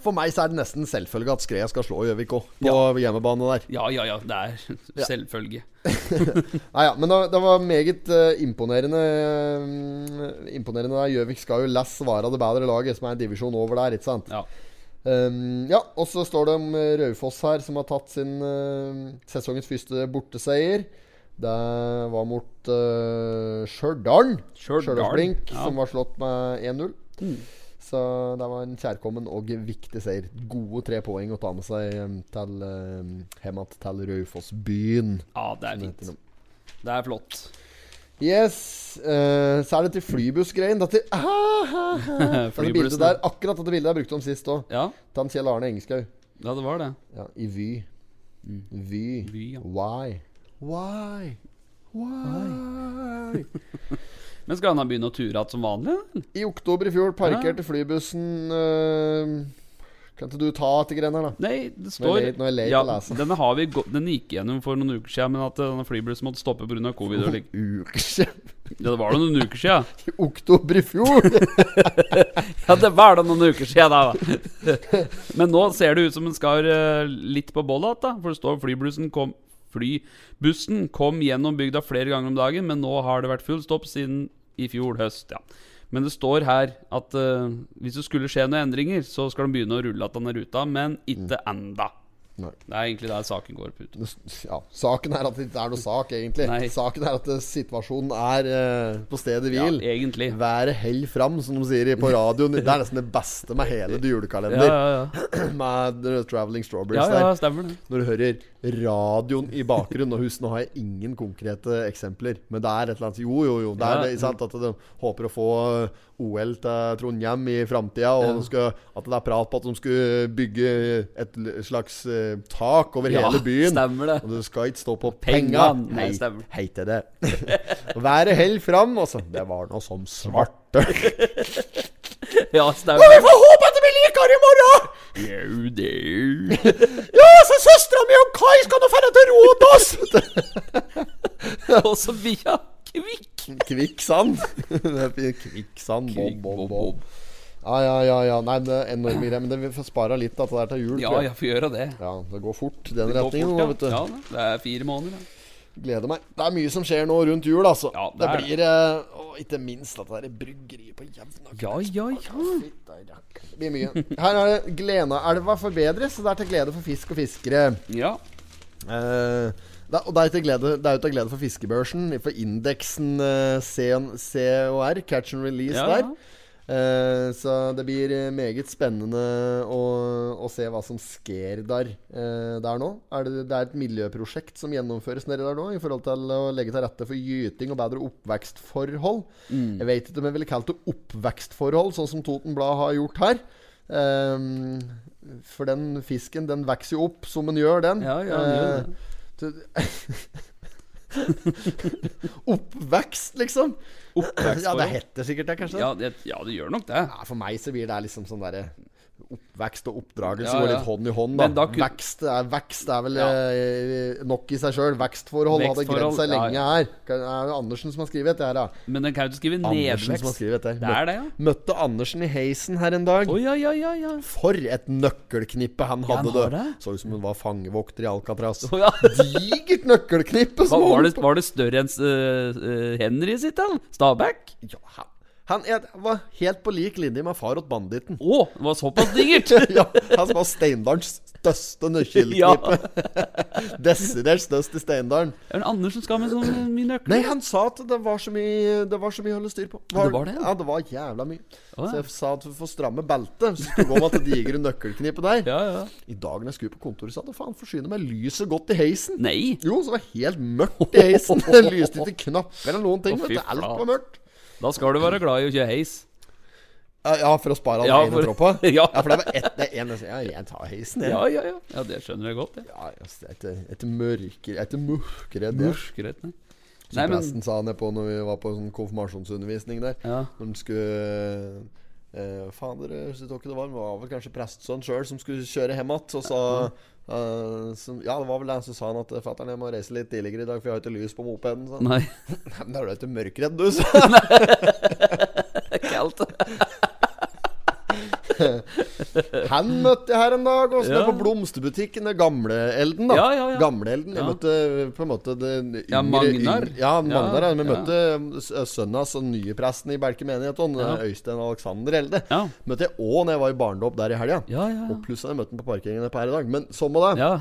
Speaker 1: For meg så er det nesten selvfølge at Skreia skal slå Gjøvik òg, på
Speaker 2: Ja.
Speaker 1: hjemmebane der.
Speaker 2: ja, ja, ja. Det er selvfølge.
Speaker 1: Nei, ja, men det, det var meget eh, imponerende. eh, imponerende der. Gjøvik skal jo less svare det bedre laget, som er en divisjon over der, ikke sant.
Speaker 2: Ja.
Speaker 1: Um, ja, og så står det om eh, Raufoss her, som har tatt sin eh, sesongens første borteseier. Det var mot uh, Stjørdal.
Speaker 2: Stjørdal,
Speaker 1: Stjørdalsblink,
Speaker 2: ja.
Speaker 1: som var slått med 1-0. Så det var en kjærkommen og viktig seier. Gode tre poeng å ta med seg eh, til, eh, hjem igjen til Raufoss-byen.
Speaker 2: Ja, det er fint. Det er flott.
Speaker 1: Yes. eh, så er det til flybussgreien. Dette, ah, ah, ah. dette bildet
Speaker 2: Flybussen.
Speaker 1: der, akkurat dette bildet jeg brukte om sist òg.
Speaker 2: Ja,
Speaker 1: Ta en Kjell Arne Engeskaug.
Speaker 2: ja det var det.
Speaker 1: Ja, I Vy. Vy.
Speaker 2: Mm. Vy, ja.
Speaker 1: Why? Why? Why?
Speaker 2: Men skal han da begynne å ture igjen som vanlig? eller?
Speaker 1: I oktober i fjor
Speaker 2: Ah.
Speaker 1: parkerte flybussen eh, Kan ikke du ta etter greiene her, da?
Speaker 2: Nei, det står
Speaker 1: late- nå er jeg late altså.
Speaker 2: ja,
Speaker 1: å lese.
Speaker 2: Denne har vi gå- Den gikk gjennom for noen uker siden, men at eh, denne flybussen måtte stoppe pga. covid. Og slik.
Speaker 1: Uke
Speaker 2: ja, det var det noen uker siden.
Speaker 1: I oktober i fjor!
Speaker 2: Ja, det var da noen uker siden, da. Men nå ser det ut som en skar eh, litt på bolla igjen, da. For det står flybussen kom Flybussen kom gjennom bygda flere ganger om dagen, men nå har det vært full stopp siden i fjor høst. ja Men det står her at eh, hvis det skulle skje noen endringer, så skal de begynne å rulle igjen denne ruta, men
Speaker 1: Mm.
Speaker 2: ikke enda.
Speaker 1: Nei.
Speaker 2: Det er egentlig der saken går på. ut.
Speaker 1: Ja, saken er at det ikke er noe sak, egentlig.
Speaker 2: Nei.
Speaker 1: Saken er at eh, situasjonen er eh, på stedet
Speaker 2: Ja,
Speaker 1: hvil.
Speaker 2: egentlig.
Speaker 1: Været held fram, som de sier i- på radioen. Det er nesten det beste med hele
Speaker 2: Ja,
Speaker 1: julekalender.
Speaker 2: ja, ja.
Speaker 1: Med eh, Traveling Strawberries
Speaker 2: ja, ja
Speaker 1: der.
Speaker 2: stemmer det.
Speaker 1: Når du hører radioen i bakgrunnen Og husk, nå har jeg ingen konkrete eksempler, men det er et eller annet Jo, jo, jo. Det er
Speaker 2: Ja.
Speaker 1: det, ikke sant? At de håper å få eh, OL til Trondheim i framtida, og de skal, at det er prat på at de skulle bygge et l- slags eh, tak over
Speaker 2: Ja,
Speaker 1: hele byen.
Speaker 2: stemmer det.
Speaker 1: Og du skal ikke stå på penga.
Speaker 2: Penga. Nei,
Speaker 1: Hei-
Speaker 2: stemmer.
Speaker 1: Hei til det. Været held fram, altså. Det var nå som svarte.
Speaker 2: Ja, stemmer det.
Speaker 1: får håpe at det blir likere i morgen!
Speaker 2: Jau, det.
Speaker 1: Ja, så søstera mi og Kai skal nå dra til Rådås!
Speaker 2: Og så via Kvikk.
Speaker 1: Kvikksand. Det er fint. Kvikksand. Bob, bob, bob. Ja, ja, ja. ja. Nei, men det er enorme greier. Men det, vi får spara litt av det der til jul.
Speaker 2: Ja,
Speaker 1: tror jeg.
Speaker 2: jeg får gjøre det.
Speaker 1: ja, det går fort i den
Speaker 2: Det går
Speaker 1: retningen nå,
Speaker 2: fort,
Speaker 1: vet du.
Speaker 2: ja. Ja, da. det er fire måneder. da.
Speaker 1: Gleder meg. Det er mye som skjer nå rundt jul, altså.
Speaker 2: Ja,
Speaker 1: det,
Speaker 2: det er
Speaker 1: blir eh, Å, ikke minst at det der bryggeriet på Jevnaker.
Speaker 2: Ja, ja, ja.
Speaker 1: Fytta rakk. Det blir mye. Her er det Glenaelva forbedres, og det er til glede for fisk og fiskere.
Speaker 2: Ja,
Speaker 1: Eh, det, er- og det er til glede, det er jo til glede for fiskebørsen, for indeksen eh, CN COR, catch and release
Speaker 2: Ja,
Speaker 1: der.
Speaker 2: ja.
Speaker 1: Eh, så det blir eh, meget spennende å, å se hva som sker der, eh, der nå. Er det, det er et miljøprosjekt som gjennomføres nede der nå, i forhold til å legge til rette for gyting og bedre oppvekstforhold. Jeg vet ikke om jeg ville kalt det oppvekstforhold, sånn som Toten Blad har gjort her. Ehm, for den fisken, den vokser jo opp som den gjør, den.
Speaker 2: Ja, ja, den gjør
Speaker 1: Eh, til- Eh, Oppvekst, liksom.
Speaker 2: Oppvekstforhold.
Speaker 1: Ja, det heter sikkert det, kanskje.
Speaker 2: ja, det, ja, det gjør nok det.
Speaker 1: Ja, for meg så blir det liksom sånn derre Oppvekst og oppdragelse
Speaker 2: Ja,
Speaker 1: går
Speaker 2: ja.
Speaker 1: litt hånd i hånd, da.
Speaker 2: Men da kun-
Speaker 1: Vekst, er, vekst er vel
Speaker 2: Ja.
Speaker 1: eh, nok i seg sjøl. Vekstforhold hadde
Speaker 2: Vekstforhold,
Speaker 1: grensa seg
Speaker 2: ja,
Speaker 1: lenge her. Det er jo Andersen som har skrevet det her, da.
Speaker 2: Men den kan jo ikke skrive
Speaker 1: Andersen som har
Speaker 2: nedvekst.
Speaker 1: skrevet det.
Speaker 2: Det er det, ja.
Speaker 1: Møtte Andersen i heisen her en dag.
Speaker 2: Å ja, ja, ja. ja.
Speaker 1: For et nøkkelknippe han
Speaker 2: Ja, han
Speaker 1: hadde,
Speaker 2: har
Speaker 1: det.
Speaker 2: det.
Speaker 1: Så ut som hun var fangevokter i Alcatraz.
Speaker 2: Å, ja.
Speaker 1: Digert nøkkelknippe!
Speaker 2: Hva,
Speaker 1: Som
Speaker 2: var,
Speaker 1: han,
Speaker 2: det, var det større enn eh, eh, Henry sitt, da? Stabæk?
Speaker 1: ja, han- han er, var helt på lik linje med far åt banditten.
Speaker 2: Å, det var såpass digert!
Speaker 1: ja, han som var Steindalens største
Speaker 2: Ja.
Speaker 1: nøkkelknippe. Desidert størst i Steindalen.
Speaker 2: Er det Anders som skal med sånn eh, mye nøkler?
Speaker 1: Nei, han sa at det var så mye Det var så mye å holde styr på.
Speaker 2: Det var det, ja.
Speaker 1: ja. det var jævla mye.
Speaker 2: Å,
Speaker 1: Så
Speaker 2: ja.
Speaker 1: jeg sa at vi får stramme beltet. Så skulle vi gå med det digre nøkkelknippet der.
Speaker 2: Ja, ja.
Speaker 1: I dag når jeg skulle på kontoret, sa jeg faen forsyne meg lyset godt i heisen.
Speaker 2: Nei.
Speaker 1: Jo, så var det helt mørkt i heisen. Det lyste ikke knapper eller noen ting.
Speaker 2: Å,
Speaker 1: vet du,
Speaker 2: fy
Speaker 1: Alt
Speaker 2: flate.
Speaker 1: var mørkt.
Speaker 2: Da skal du være glad i å kjøre heis.
Speaker 1: Ja, Ja, for å spare
Speaker 2: Ja,
Speaker 1: den ene
Speaker 2: for-
Speaker 1: tråpa?
Speaker 2: Ja.
Speaker 1: for det var ett det er en, Ja, jeg tar heisen, jeg.
Speaker 2: Ja, ja, ja. Ja, Det skjønner jeg godt, jeg.
Speaker 1: Ja, altså, det er ikke- et mørkere Et mørkere det.
Speaker 2: Murskrøt, nei.
Speaker 1: Som
Speaker 2: Nei, men
Speaker 1: presten sa nede på når vi var på sånn konfirmasjonsundervisning der.
Speaker 2: Ja.
Speaker 1: Når han skulle eh, Fader, jeg husker ikke det var, men det var vel kanskje prestesønnen sjøl som skulle kjøre hjem igjen. Og sa eh, som, Ja, det var vel det. Så sa han at eh, fatter'n, jeg må reise litt tidligere i dag, for jeg har ikke lys på mopeden. Så.
Speaker 2: Nei,
Speaker 1: Nei, men da er du ikke mørkredd, du, sa han.
Speaker 2: det er kaldt.
Speaker 1: Han møtte jeg her en dag, også,
Speaker 2: Ja.
Speaker 1: på blomsterbutikken. Det gamle Elden, da.
Speaker 2: Ja, ja, ja.
Speaker 1: Gamle Elden. Jeg
Speaker 2: Ja.
Speaker 1: møtte på en måte den yngre
Speaker 2: Ja, Magnar.
Speaker 1: yng- Ja, Magnar.
Speaker 2: Ja,
Speaker 1: Ja, vi
Speaker 2: ja.
Speaker 1: møtte s- sønnen hans, den nye presten i Berke menighet, han,
Speaker 2: Ja.
Speaker 1: Øystein Alexander Elde.
Speaker 2: Ja.
Speaker 1: Møtte jeg òg når jeg var i barndåp der i helga.
Speaker 2: Ja, ja, ja.
Speaker 1: Og pluss at jeg møtte han på parkeringen et par i dag. Men sånn må det.
Speaker 2: Ja,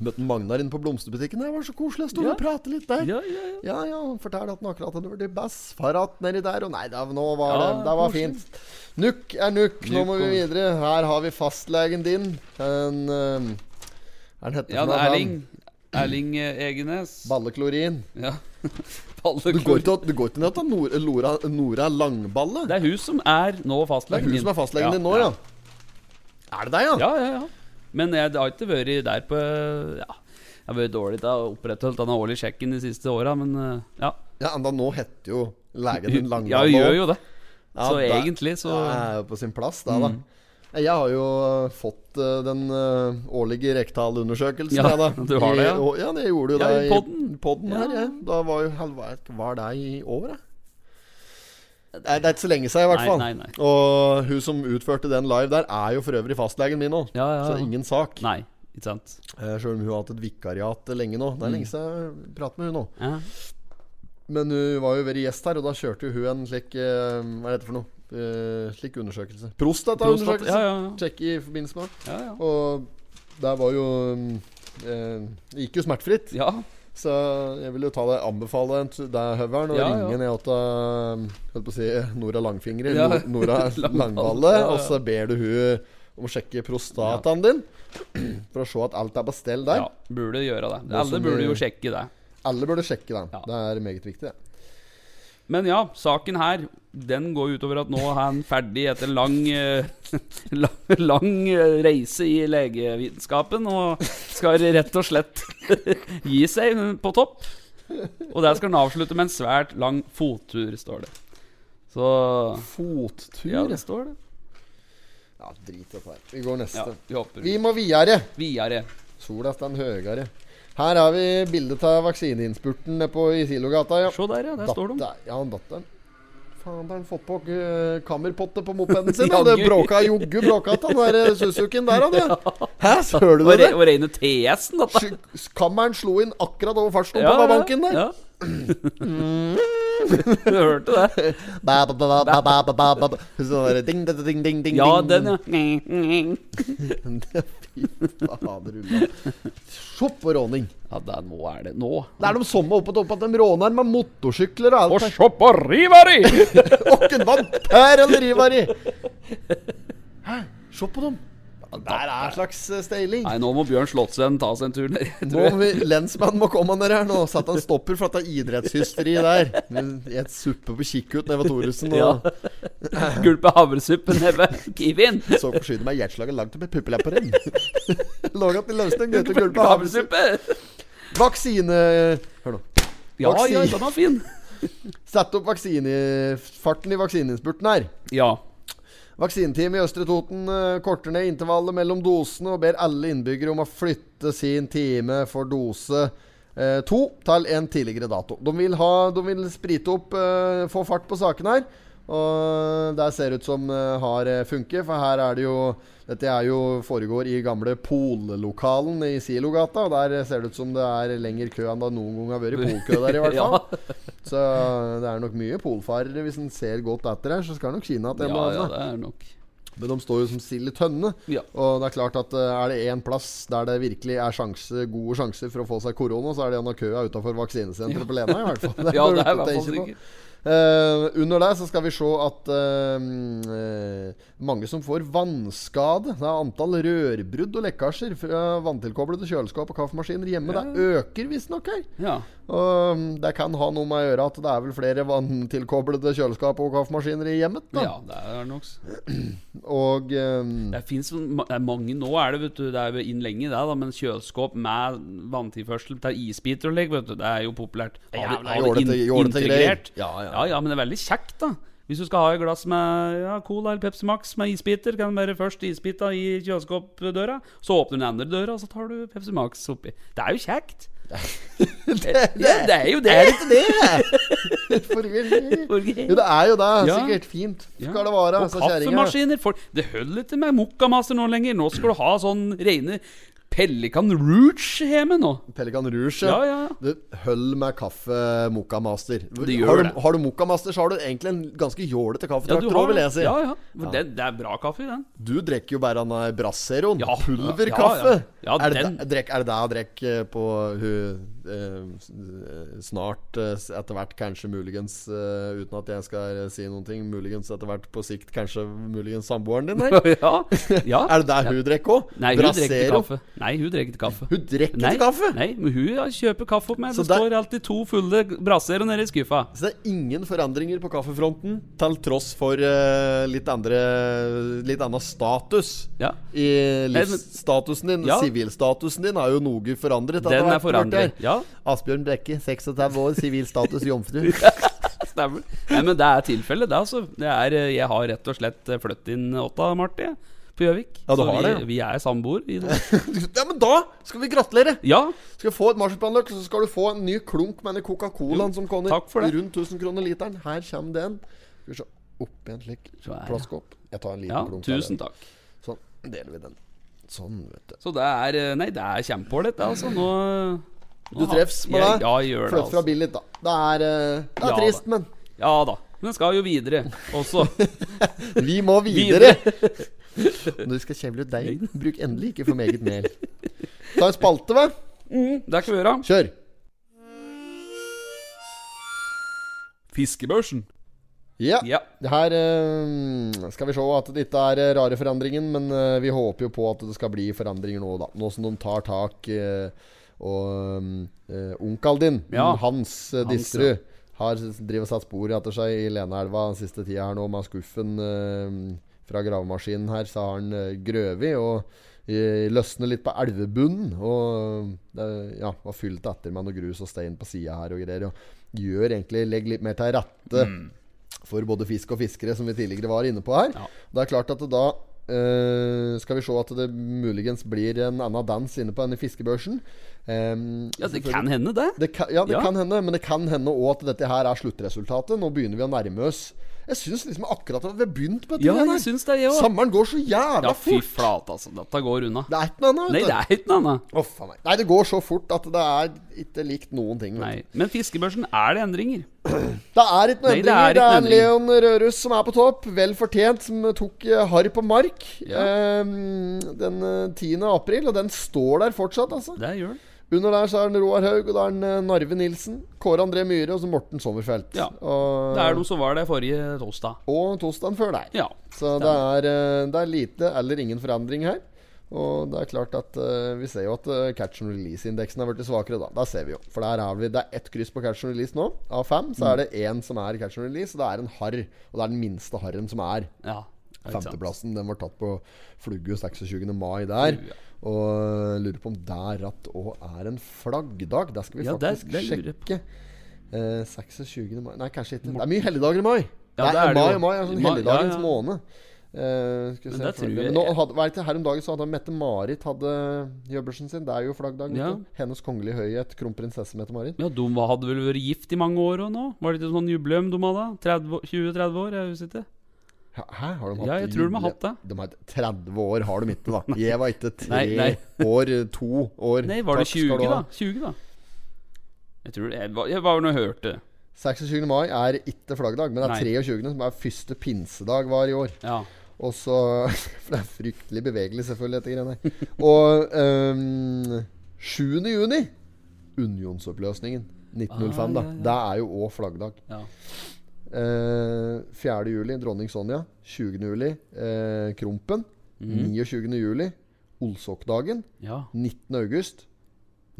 Speaker 1: Møtte Magnar inne på blomsterbutikken. Det var så koselig. Jeg sto
Speaker 2: Ja.
Speaker 1: og pratet litt der.
Speaker 2: ja, ja, ja.
Speaker 1: Ja, ja, han fortalte at han akkurat hadde vært i Bassfarat nedi der, og nei, da, nå var
Speaker 2: Ja,
Speaker 1: det Det var
Speaker 2: koselig.
Speaker 1: fint. Nukk er nukk, nå
Speaker 2: Nukk
Speaker 1: må vi
Speaker 2: og-
Speaker 1: videre. Her har vi fastlegen din. En eh, Er den hette
Speaker 2: ja
Speaker 1: for noe?
Speaker 2: det er
Speaker 1: Han-
Speaker 2: Erling. Erling eh, Egenes.
Speaker 1: Balleklorin.
Speaker 2: Ja.
Speaker 1: Du går
Speaker 2: Balleklo-
Speaker 1: ikke du går ikke ned til Nora, Nora, Nora Langballe?
Speaker 2: Det er hun som er nå
Speaker 1: Det er
Speaker 2: fastlegen
Speaker 1: hun som er fastlegen din nå, ja. Er det deg, ja?
Speaker 2: Ja, ja, ja. Men jeg har ikke vært der på Ja, jeg har vært dårlig til å opprettholde denne årlige sjekken de siste åra, men eh, ja.
Speaker 1: Ja, enda nå heter jo legen din Langballe.
Speaker 2: Ja, hun gjør jo det.
Speaker 1: Ja,
Speaker 2: så
Speaker 1: det-
Speaker 2: egentlig så Mm.
Speaker 1: Det er jo på sin plass, da. da. Jeg har jo eh, fått eh, den eh, årlige rektalundersøkelsen.
Speaker 2: Ja,
Speaker 1: jeg, da.
Speaker 2: du har det, ja.
Speaker 1: I, og, ja, det gjorde jo
Speaker 2: Ja,
Speaker 1: det
Speaker 2: i podden.
Speaker 1: podden her.
Speaker 2: Ja.
Speaker 1: jeg. Da var jo helvete Var det i år, da? Det er, det er ikke så lenge siden, i hvert
Speaker 2: Nei,
Speaker 1: fall.
Speaker 2: nei, nei.
Speaker 1: Og hun som utførte den live der, er jo for øvrig fastlegen min nå.
Speaker 2: Ja, ja,
Speaker 1: Så
Speaker 2: ja.
Speaker 1: ingen sak.
Speaker 2: Nei, ikke sant.
Speaker 1: Eh, Selv om hun har hatt et vikariat lenge nå. Det er
Speaker 2: Mm.
Speaker 1: lenge siden jeg pratet med hun nå.
Speaker 2: Ja.
Speaker 1: Men hun var jo vært gjest her, og da kjørte jo hun en slik eh, Hva er dette for noe? Eh, slik undersøkelse.
Speaker 2: Prostat,
Speaker 1: Prostataundersøkelse.
Speaker 2: ja, ja, ja.
Speaker 1: Sjekke i forbindelse med.
Speaker 2: ja, ja.
Speaker 1: Og der var jo mm, eh, Det gikk jo smertefritt.
Speaker 2: ja.
Speaker 1: Så jeg vil jo ta deg anbefale en t- deg, Høveren, å
Speaker 2: Ja, ja.
Speaker 1: ringe ned til eh, holdt på å si Nora Langfingre,
Speaker 2: Ja.
Speaker 1: Nor- Nora
Speaker 2: Langballe,
Speaker 1: Langballe,
Speaker 2: ja, ja.
Speaker 1: og så ber du hun om å sjekke prostataen din. For å se at alt er på stell der.
Speaker 2: ja. Burde gjøre det.
Speaker 1: Nå
Speaker 2: Alle
Speaker 1: som
Speaker 2: burde
Speaker 1: vi-
Speaker 2: jo sjekke det.
Speaker 1: Alle burde sjekke den.
Speaker 2: Ja.
Speaker 1: Det er meget viktig. det.
Speaker 2: Men ja, saken her Den går utover at nå er han ferdig etter lang eh, lang, lang eh, reise i legevitenskapen og skal rett og slett gi seg på topp. Og der skal han avslutte med en svært lang fottur, står det. Så
Speaker 1: Fottur.
Speaker 2: Ja, det står det.
Speaker 1: Ja, drit i dette her. Vi går
Speaker 2: Ja,
Speaker 1: neste.
Speaker 2: vi hopper
Speaker 1: Vi må videre.
Speaker 2: videre.
Speaker 1: Sola står høyere. Her har vi bildet av vaksineinnspurten nede på Isilogata. Ja.
Speaker 2: Se der, ja. Der står de.
Speaker 1: Datter- Ja, han datteren. Faen, da har han fått på eh, kammerpotte på mopeden sin.
Speaker 2: Ja,
Speaker 1: ja, det
Speaker 2: gøy.
Speaker 1: bråka joggu bråka til han der eh, Suzuki'en der, han. Ja. Hæ, hører du
Speaker 2: Og,
Speaker 1: det?
Speaker 2: re, og rene TS-en, dette.
Speaker 1: Sky- Kammeren slo inn akkurat over fartsdumpa på banken der.
Speaker 2: ja. Du hørte det?
Speaker 1: Ba, ba, ba, ba, ba, ba, ba, ba. Sånn der ding, ding, ding, ding, ding.
Speaker 2: Ja,
Speaker 1: ding.
Speaker 2: den, ja.
Speaker 1: Fy fader, Ulla. Se på råning.
Speaker 2: Ja, det, nå er det Nå.
Speaker 1: Det er de samme oppe på at de råner med motorsykler og alt.
Speaker 2: se på Rivari!
Speaker 1: Åkken vampyr eller rivari! Hæ? Se på dem. Der er en slags eh, steiling.
Speaker 2: Nei, nå må Bjørn Slottsvenn ta seg en tur ned. Jeg
Speaker 1: Nå
Speaker 2: tror jeg.
Speaker 1: må vi, Lensmannen må komme ned her nå. Satt han stopper for dette idrettshysteriet der. Men I et suppe på kikkut nede ved Thoresen. Og
Speaker 2: Gulpe havresuppe ned ved Kiwien.
Speaker 1: så forsyner meg hjerteslaget langt opp i puppelepperen. Laga til løsning. Dette gulpet
Speaker 2: Gulpe
Speaker 1: havresuppe.
Speaker 2: havresuppe!
Speaker 1: Vaksine... Hør nå.
Speaker 2: Ja, ja,
Speaker 1: Vaksin.
Speaker 2: den var fin.
Speaker 1: Sett opp vaksinefarten i vaksineinnspurten her.
Speaker 2: Ja.
Speaker 1: Vaksineteamet i Østre Toten eh, korter ned intervallet mellom dosene og ber alle innbyggere om å flytte sin time for dose eh, to til en tidligere dato. De vil, ha, de vil sprite opp, eh, få fart på saken her. Og det ser ut som eh, har eh, funket, for her er det jo Dette er jo foregår i gamle Pollokalen i Silogata, og der ser det ut som det er lengre kø enn det noen gang har vært polkø der, i hvert fall.
Speaker 2: Ja.
Speaker 1: Så eh, det er nok mye polfarere. Hvis en ser godt etter her, så skal nok Kina til
Speaker 2: ja,
Speaker 1: en eller
Speaker 2: ja,
Speaker 1: annen.
Speaker 2: det er nok.
Speaker 1: Men de står jo som sild i tønne.
Speaker 2: Ja.
Speaker 1: Og det er klart at eh, er det én plass der det virkelig er sjanse, gode sjanser for å få seg korona, så er det gjennom køa utafor vaksinesenteret på Lena, i hvert fall.
Speaker 2: Ja,
Speaker 1: noe
Speaker 2: det er i
Speaker 1: å
Speaker 2: hvert fall
Speaker 1: tenke på.
Speaker 2: sikkert.
Speaker 1: Eh, under der så skal vi se at eh, eh, mange som får vannskade Det er antall rørbrudd og lekkasjer fra vanntilkoblede kjøleskap og kaffemaskiner hjemme. Det øker visstnok her.
Speaker 2: Ja.
Speaker 1: Og mm, det kan ha noe med å gjøre at det er vel flere vanntilkoblede kjøleskap og kaffemaskiner i hjemmet. Da.
Speaker 2: ja, det er nok.
Speaker 1: Og eh,
Speaker 2: Det finnes, det er mange nå, er det, vet du. Det er jo inn lenge, det, da. Men kjøleskåp med vanntilførsel til isbiter og lik, vet du. Det er jo populært. Ha det-
Speaker 1: Jævla
Speaker 2: ha det
Speaker 1: jålete-
Speaker 2: in-
Speaker 1: jålete greier.
Speaker 2: integrert.
Speaker 1: Ja, ja.
Speaker 2: Ja, ja, men det er veldig kjekt, da. Hvis du skal ha et glass med ja, Cola eller Pepsi Max med isbiter, kan du bare først isbita i kjøleskapdøra, så åpner du den andre døra, og så tar du Pepsi Max oppi. Det er jo kjekt. Ja, det er jo det!
Speaker 1: Er det ikke det? Forvirrende. Jo, altså, det er jo det.
Speaker 2: Ja.
Speaker 1: Sikkert fint.
Speaker 2: Ja.
Speaker 1: Skal det være,
Speaker 2: og
Speaker 1: sa kjerringa.
Speaker 2: kaffemaskiner. Folk, det holder ikke med mokkamaster nå lenger. Nå skal du ha sånn rene Pelikan Rouge hjemme nå.
Speaker 1: Pelikan Rouge.
Speaker 2: Ja, ja, ja.
Speaker 1: Det høll med kaffe Moka Master.
Speaker 2: gjør
Speaker 1: har, du,
Speaker 2: det.
Speaker 1: har du Moka Master, så har du egentlig en ganske jålete
Speaker 2: Ja,
Speaker 1: kaffetrakter
Speaker 2: du
Speaker 1: òg,
Speaker 2: har
Speaker 1: vil
Speaker 2: det.
Speaker 1: jeg si.
Speaker 2: Ja, ja. For Det, det er bra kaffe, den.
Speaker 1: Du drikker jo bare den Brasseroen.
Speaker 2: Ja.
Speaker 1: Pulverkaffe.
Speaker 2: Ja, ja. Ja,
Speaker 1: er, det
Speaker 2: den-
Speaker 1: det- drekk- er det det jeg drikker på hun eh, s- eh, Snart, eh, s- etter hvert kanskje muligens eh, Uten at jeg skal eh, si noen ting, muligens etter hvert på sikt kanskje muligens samboeren din her?
Speaker 2: ja. ja.
Speaker 1: Er det der hun drikker òg?
Speaker 2: Nei, hun drikker ikke kaffe. Nei, hun drikker ikke kaffe.
Speaker 1: Hun drikker
Speaker 2: Nei,
Speaker 1: ikke kaffe?
Speaker 2: nei, men hun ja, kjøper kaffe opp meg.
Speaker 1: Så
Speaker 2: Det
Speaker 1: der-
Speaker 2: står alltid to fulle brasser nede i skuffa.
Speaker 1: Så det er ingen forandringer på kaffefronten, til tross for eh, litt andre Litt annen status.
Speaker 2: Ja.
Speaker 1: I
Speaker 2: Nei, men-
Speaker 1: livsstatusen din.
Speaker 2: Ja.
Speaker 1: Sivilstatusen din er jo noe forandret. etter
Speaker 2: Den
Speaker 1: hvert,
Speaker 2: er forandret.
Speaker 1: hørte jeg.
Speaker 2: Ja,
Speaker 1: Asbjørn Brekke, 36 år, sivilstatus jomfru.
Speaker 2: stemmer. Nei, men det er tilfellet, det, altså. Det er, eh, jeg har rett og slett eh, flyttet inn åtta, Marti, jeg, på Gjøvik.
Speaker 1: Ja, du
Speaker 2: Så
Speaker 1: har
Speaker 2: vi,
Speaker 1: det, ja.
Speaker 2: vi er samboer. i det.
Speaker 1: ja, men da skal vi gratulere!
Speaker 2: Ja,
Speaker 1: Skal du få et marsipanløk, så skal du få en ny klunk med den Coca-Colaen som kommer.
Speaker 2: takk for det.
Speaker 1: Rundt 1000 kroner literen. Her kommer den. Skal vi se. Oppi en slik
Speaker 2: Så er det.
Speaker 1: plastkopp. Jeg tar en liten
Speaker 2: ja
Speaker 1: klunk. av
Speaker 2: tusen
Speaker 1: den.
Speaker 2: takk.
Speaker 1: Sånn. Deler vi den. Sånn, vet du.
Speaker 2: Så det er eh, Nei, det er kjempeålreit, det, altså. Nå, nå
Speaker 1: Du
Speaker 2: har-
Speaker 1: trefs med
Speaker 2: jeg,
Speaker 1: det.
Speaker 2: Ja, jeg gjør det.
Speaker 1: Flytt fra
Speaker 2: Altså.
Speaker 1: bil litt, da. Det er, eh, det er
Speaker 2: Ja,
Speaker 1: trist,
Speaker 2: da.
Speaker 1: men
Speaker 2: Ja da. Men skal jo videre også.
Speaker 1: vi må videre. Når du skal kjevle ut deg, bruk endelig ikke for meget mel. Ta en spalte, hva?
Speaker 2: Det kan vi gjøre.
Speaker 1: Kjør.
Speaker 2: Fiskebørsen.
Speaker 1: Ja.
Speaker 2: Ja.
Speaker 1: Det Her eh, skal vi se at det ikke er eh, rare forandringen, men eh, vi håper jo på at det skal bli forandringer nå, da. Nå som de tar tak eh, og uh, onkelen din,
Speaker 2: Ja.
Speaker 1: Hans uh,
Speaker 2: Hans,
Speaker 1: Disterud, har driver og satt spor etter seg i Leneelva den siste tida her nå med skuffen eh, fra gravemaskinen her, så har han uh, grøvet og eh, løsnet litt på elvebunnen. Og det, ja, var fylt etter med noe grus og stein på sida her og greier. Og gjør egentlig Legger litt mer til rette for både fisk og fiskere, som vi tidligere var inne på her.
Speaker 2: Mm. Ja.
Speaker 1: Det er klart at det da eh, skal vi se at det muligens blir en annen dans inne på denne fiskebørsen. Em,
Speaker 2: ja, det
Speaker 1: selvfølgelig-
Speaker 2: kan hende, det.
Speaker 1: det kan, ja, det
Speaker 2: Ja.
Speaker 1: kan hende, men det kan hende òg at dette her er sluttresultatet. Nå begynner vi å nærme oss. Jeg syns liksom akkurat at vi har begynt på dette.
Speaker 2: Ja,
Speaker 1: greiene her.
Speaker 2: jeg syns det, jeg òg.
Speaker 1: Sommeren går så jævla
Speaker 2: Ja, fy
Speaker 1: Sånn fort!
Speaker 2: flate, altså. Dette går unna.
Speaker 1: Det er ikke noe annet.
Speaker 2: Nei,
Speaker 1: vet
Speaker 2: det
Speaker 1: du.
Speaker 2: er ikke noe annet.
Speaker 1: Å, faen meg. Nei, det går så fort at det er ikke likt noen ting. vet
Speaker 2: Nei.
Speaker 1: du.
Speaker 2: Men fiskebørsen er det endringer.
Speaker 1: Det er ikke noe
Speaker 2: Nei, det er
Speaker 1: endringer. Det
Speaker 2: ikke noe
Speaker 1: er Leon Rørus som er på topp. Vel fortjent, som tok eh, harr på mark
Speaker 2: Ja.
Speaker 1: ehm, den eh, 10. april. Og den står der fortsatt, altså.
Speaker 2: Det gjør det.
Speaker 1: Under der så er det Roar Haug, og da er det eh, Narve Nilsen, Kåre André Myhre og så Morten Sommerfelt.
Speaker 2: Ja.
Speaker 1: Og,
Speaker 2: Det er de som var der forrige torsdag.
Speaker 1: og torsdagen før der.
Speaker 2: Ja.
Speaker 1: Så det er, eh, det er lite eller ingen forandring her. Og det er klart at eh, vi ser jo at eh, catch and release-indeksen er blitt svakere, da. Der ser vi jo. For der har vi, det er ett kryss på catch and release nå. Av fem så er det én som er catch and release, og det er en harr. Og det er den minste harren som er.
Speaker 2: ja. Ikke sant?
Speaker 1: Femteplassen den var tatt på Flugge 26. mai der.
Speaker 2: Ja.
Speaker 1: Og jeg lurer på om der ratt òg er en flaggdag. Det skal vi
Speaker 2: Ja, det-
Speaker 1: faktisk
Speaker 2: det lurer jeg på.
Speaker 1: sjekke. Eh, 26. mai Nei, kanskje ikke. Det er mye helligdager i mai.
Speaker 2: Ja,
Speaker 1: det
Speaker 2: det
Speaker 1: er,
Speaker 2: er det
Speaker 1: mai,
Speaker 2: jo.
Speaker 1: mai er sånn
Speaker 2: Mai-
Speaker 1: helligdagens
Speaker 2: ja, ja.
Speaker 1: måned. Eh, skal vi
Speaker 2: Men
Speaker 1: se
Speaker 2: det
Speaker 1: for-
Speaker 2: tror jeg-
Speaker 1: Men nå hadde, var det ikke her om dagen så hadde Mette-Marit hadde jøbelsen sin. Det er jo flaggdag. vet
Speaker 2: Ja.
Speaker 1: du. Hennes kongelige høyhet, kronprinsesse Mette-Marit.
Speaker 2: Ja, De var- hadde vel vært gift i mange år òg nå? Var det ikke sånn jubileum de hadde? 30 år- 20-30 år? Jeg husker ikke.
Speaker 1: Hæ, hæ? har de hatt
Speaker 2: Ja, jeg tror de har
Speaker 1: jule-
Speaker 2: hatt det.
Speaker 1: De har 30 år har de ikke, da. Jeg var ikke tre
Speaker 2: Nei, nei.
Speaker 1: år, to år.
Speaker 2: Nei, var
Speaker 1: Takk
Speaker 2: det
Speaker 1: skal
Speaker 2: 20,
Speaker 1: du ha.
Speaker 2: da? 20 da Jeg tror det Jeg var- jeg var nå hørte.
Speaker 1: 26. mai er ikke flaggdag, men det
Speaker 2: Nei.
Speaker 1: er 23. som er første pinsedag var i år.
Speaker 2: Ja.
Speaker 1: Og så For det er fryktelig bevegelig, selvfølgelig, dette greiene her. Og øhm, 7. juni Unionsoppløsningen. 1905,
Speaker 2: Ah,
Speaker 1: da.
Speaker 2: ja, ja.
Speaker 1: Det er jo òg flaggdag.
Speaker 2: ja.
Speaker 1: Eh, 4. juli, dronning Sonja. 20. juli, eh, Krompen.
Speaker 2: Mm.
Speaker 1: 29. juli, Olsokdagen.
Speaker 2: Mhm. Ja.
Speaker 1: 19. august.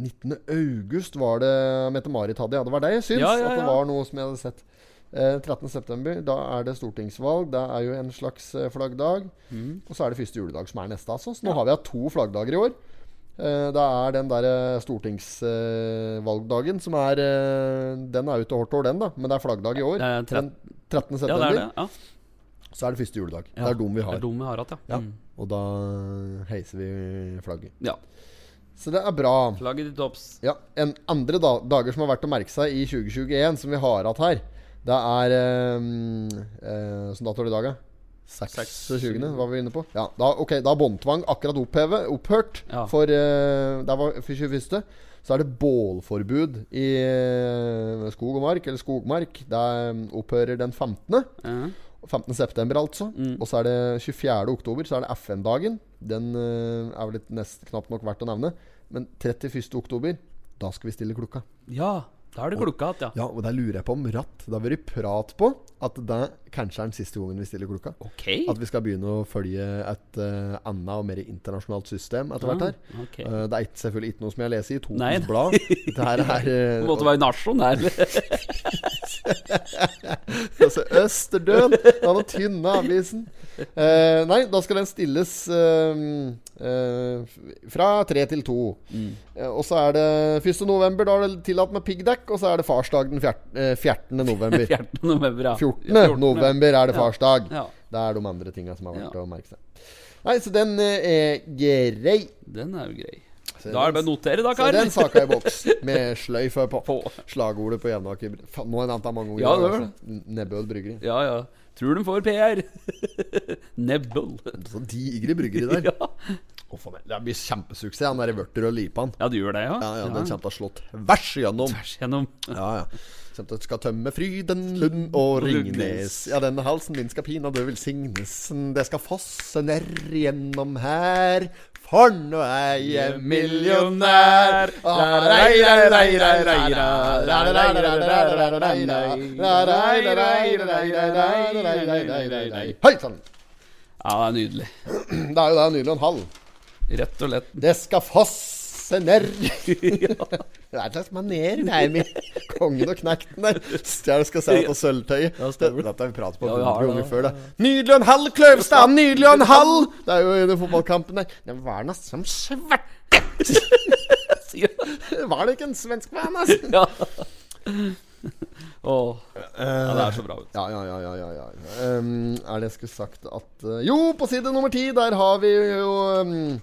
Speaker 1: 19. august var det Mette-Marit hadde. Ja, det var det jeg syns.
Speaker 2: Ja, ja,
Speaker 1: At det
Speaker 2: ja.
Speaker 1: var noe som jeg hadde sett. Eh, 13. september, da er det stortingsvalg. Det er jo en slags eh, flaggdag.
Speaker 2: Mhm.
Speaker 1: Og så er det første juledag, som er neste. Altså. Så nå har vi hatt to flaggdager i år. Eh, det er den der eh, stortingsvalgdagen som er eh, Den er jo til hårdt år, den, da. Men det er flaggdag i år.
Speaker 2: Det er
Speaker 1: Den
Speaker 2: tret-
Speaker 1: 13.
Speaker 2: ja,
Speaker 1: september.
Speaker 2: det er det. Ja.
Speaker 1: Så er det første juledag.
Speaker 2: Ja,
Speaker 1: Det er dom vi
Speaker 2: Det
Speaker 1: har.
Speaker 2: er dum vi har hatt, ja.
Speaker 1: Ja.
Speaker 2: Mm.
Speaker 1: Og da heiser vi flagget.
Speaker 2: Mhm. ja.
Speaker 1: Så det er bra.
Speaker 2: Flagget til topps.
Speaker 1: Ja, en andre da dager som har vært å merke seg i 2021, som vi har hatt her, det er ehm, eh, Hvilken dato er det i dag, da? 26. var vi inne på. Ja, da, ok, da er båndtvang akkurat opphevet, opphørt
Speaker 2: Ja.
Speaker 1: for eh, Der var 21. Så er det bålforbud i eh, skog og mark, eller skogmark. Det er, mm, opphører den 15.
Speaker 2: Ja.
Speaker 1: 15. september, altså.
Speaker 2: Mm.
Speaker 1: Og så er det 24. oktober, så er det FN-dagen. Den eh, er vel litt nest, knapt nok verdt å nevne. Men 31. oktober, da skal vi stille klokka.
Speaker 2: ja, da er det klokka igjen, ja.
Speaker 1: Ja, og der lurer jeg på om ratt. Det har vært prat på at det kanskje er den siste gangen vi stiller klokka.
Speaker 2: Ok.
Speaker 1: At vi skal begynne å følge et eh, annet og mer internasjonalt system etter hvert her.
Speaker 2: Ah, ok.
Speaker 1: Eh, det er ikke, selvfølgelig ikke noe som jeg har lest i
Speaker 2: Nei,
Speaker 1: Totens
Speaker 2: nei.
Speaker 1: Blad. Det her er eh,
Speaker 2: Det måtte være nasjonær.
Speaker 1: altså Østerdøl. Den hadde tynne avisen. Eh, nei, da skal den stilles eh, eh, fra tre til to.
Speaker 2: Mm.
Speaker 1: Eh, og så er det 1. november, da er det tillatt med piggdekk. Og så er det farsdag den 4. eh, 14. november.
Speaker 2: 14. november, ja.
Speaker 1: 14.
Speaker 2: 14.
Speaker 1: november er det farsdag.
Speaker 2: Ja.
Speaker 1: Det er de andre tinga som er verdt
Speaker 2: Ja.
Speaker 1: å merke seg. Nei, så den eh, er grei.
Speaker 2: Den er jo grei.
Speaker 1: Så
Speaker 2: Da er det bare å
Speaker 1: den-
Speaker 2: notere, da,
Speaker 1: så
Speaker 2: kar.
Speaker 1: den saka i boks, med sløyfe på.
Speaker 2: På.
Speaker 1: Slagordet på Jevnaker Faen, Nå har jeg nevnt det mange ganger.
Speaker 2: Ja, det var
Speaker 1: altså. Nebbøl bryggeri.
Speaker 2: Ja, ja. Tror de får PR. Nebbel.
Speaker 1: Sånn digre bryggeri der.
Speaker 2: Ja.
Speaker 1: Å, faen, det blir kjempesuksess. Han der i vørter og lipan.
Speaker 2: ja, du gjør det, ja?
Speaker 1: Ja, ja, Den kommer til å ha slått tvers igjennom.
Speaker 2: Tvers gjennom.
Speaker 1: Ja, ja. Kommer til å skal tømme Fryden, Lund og Ringnes.
Speaker 2: Lugnes.
Speaker 1: Ja, denne halsen din skal pinadø velsignes. Det skal fosse ned gjennom her. For nå er jeg millionær. Hei sann!
Speaker 2: Ja, det er nydelig.
Speaker 1: Det er jo da nylig en halv.
Speaker 2: Rett og lett.
Speaker 1: Det skal fosse ned Det er et slags maner der med kongen og knekten der. Stjern skal se på sølvtøyet.
Speaker 2: Ja,
Speaker 1: Det-
Speaker 2: stemmer.
Speaker 1: Dette har vi pratet på
Speaker 2: Ja, vi
Speaker 1: hundre
Speaker 2: har det,
Speaker 1: ganger
Speaker 2: ja.
Speaker 1: før. det Nydelig og en halv, Kløvstad! Nydelig og en halv! Det er jo i den fotballkampen der. Det var noe som svart
Speaker 2: sier han.
Speaker 1: Var det ikke en svensk mann, altså?
Speaker 2: Ja. Åh. Ja, det er så bra. vet du.
Speaker 1: Ja, ja, ja, ja, ja, ja. Ehm, Er det jeg skulle sagt at eh, Jo, på side nummer ti, der har vi jo um,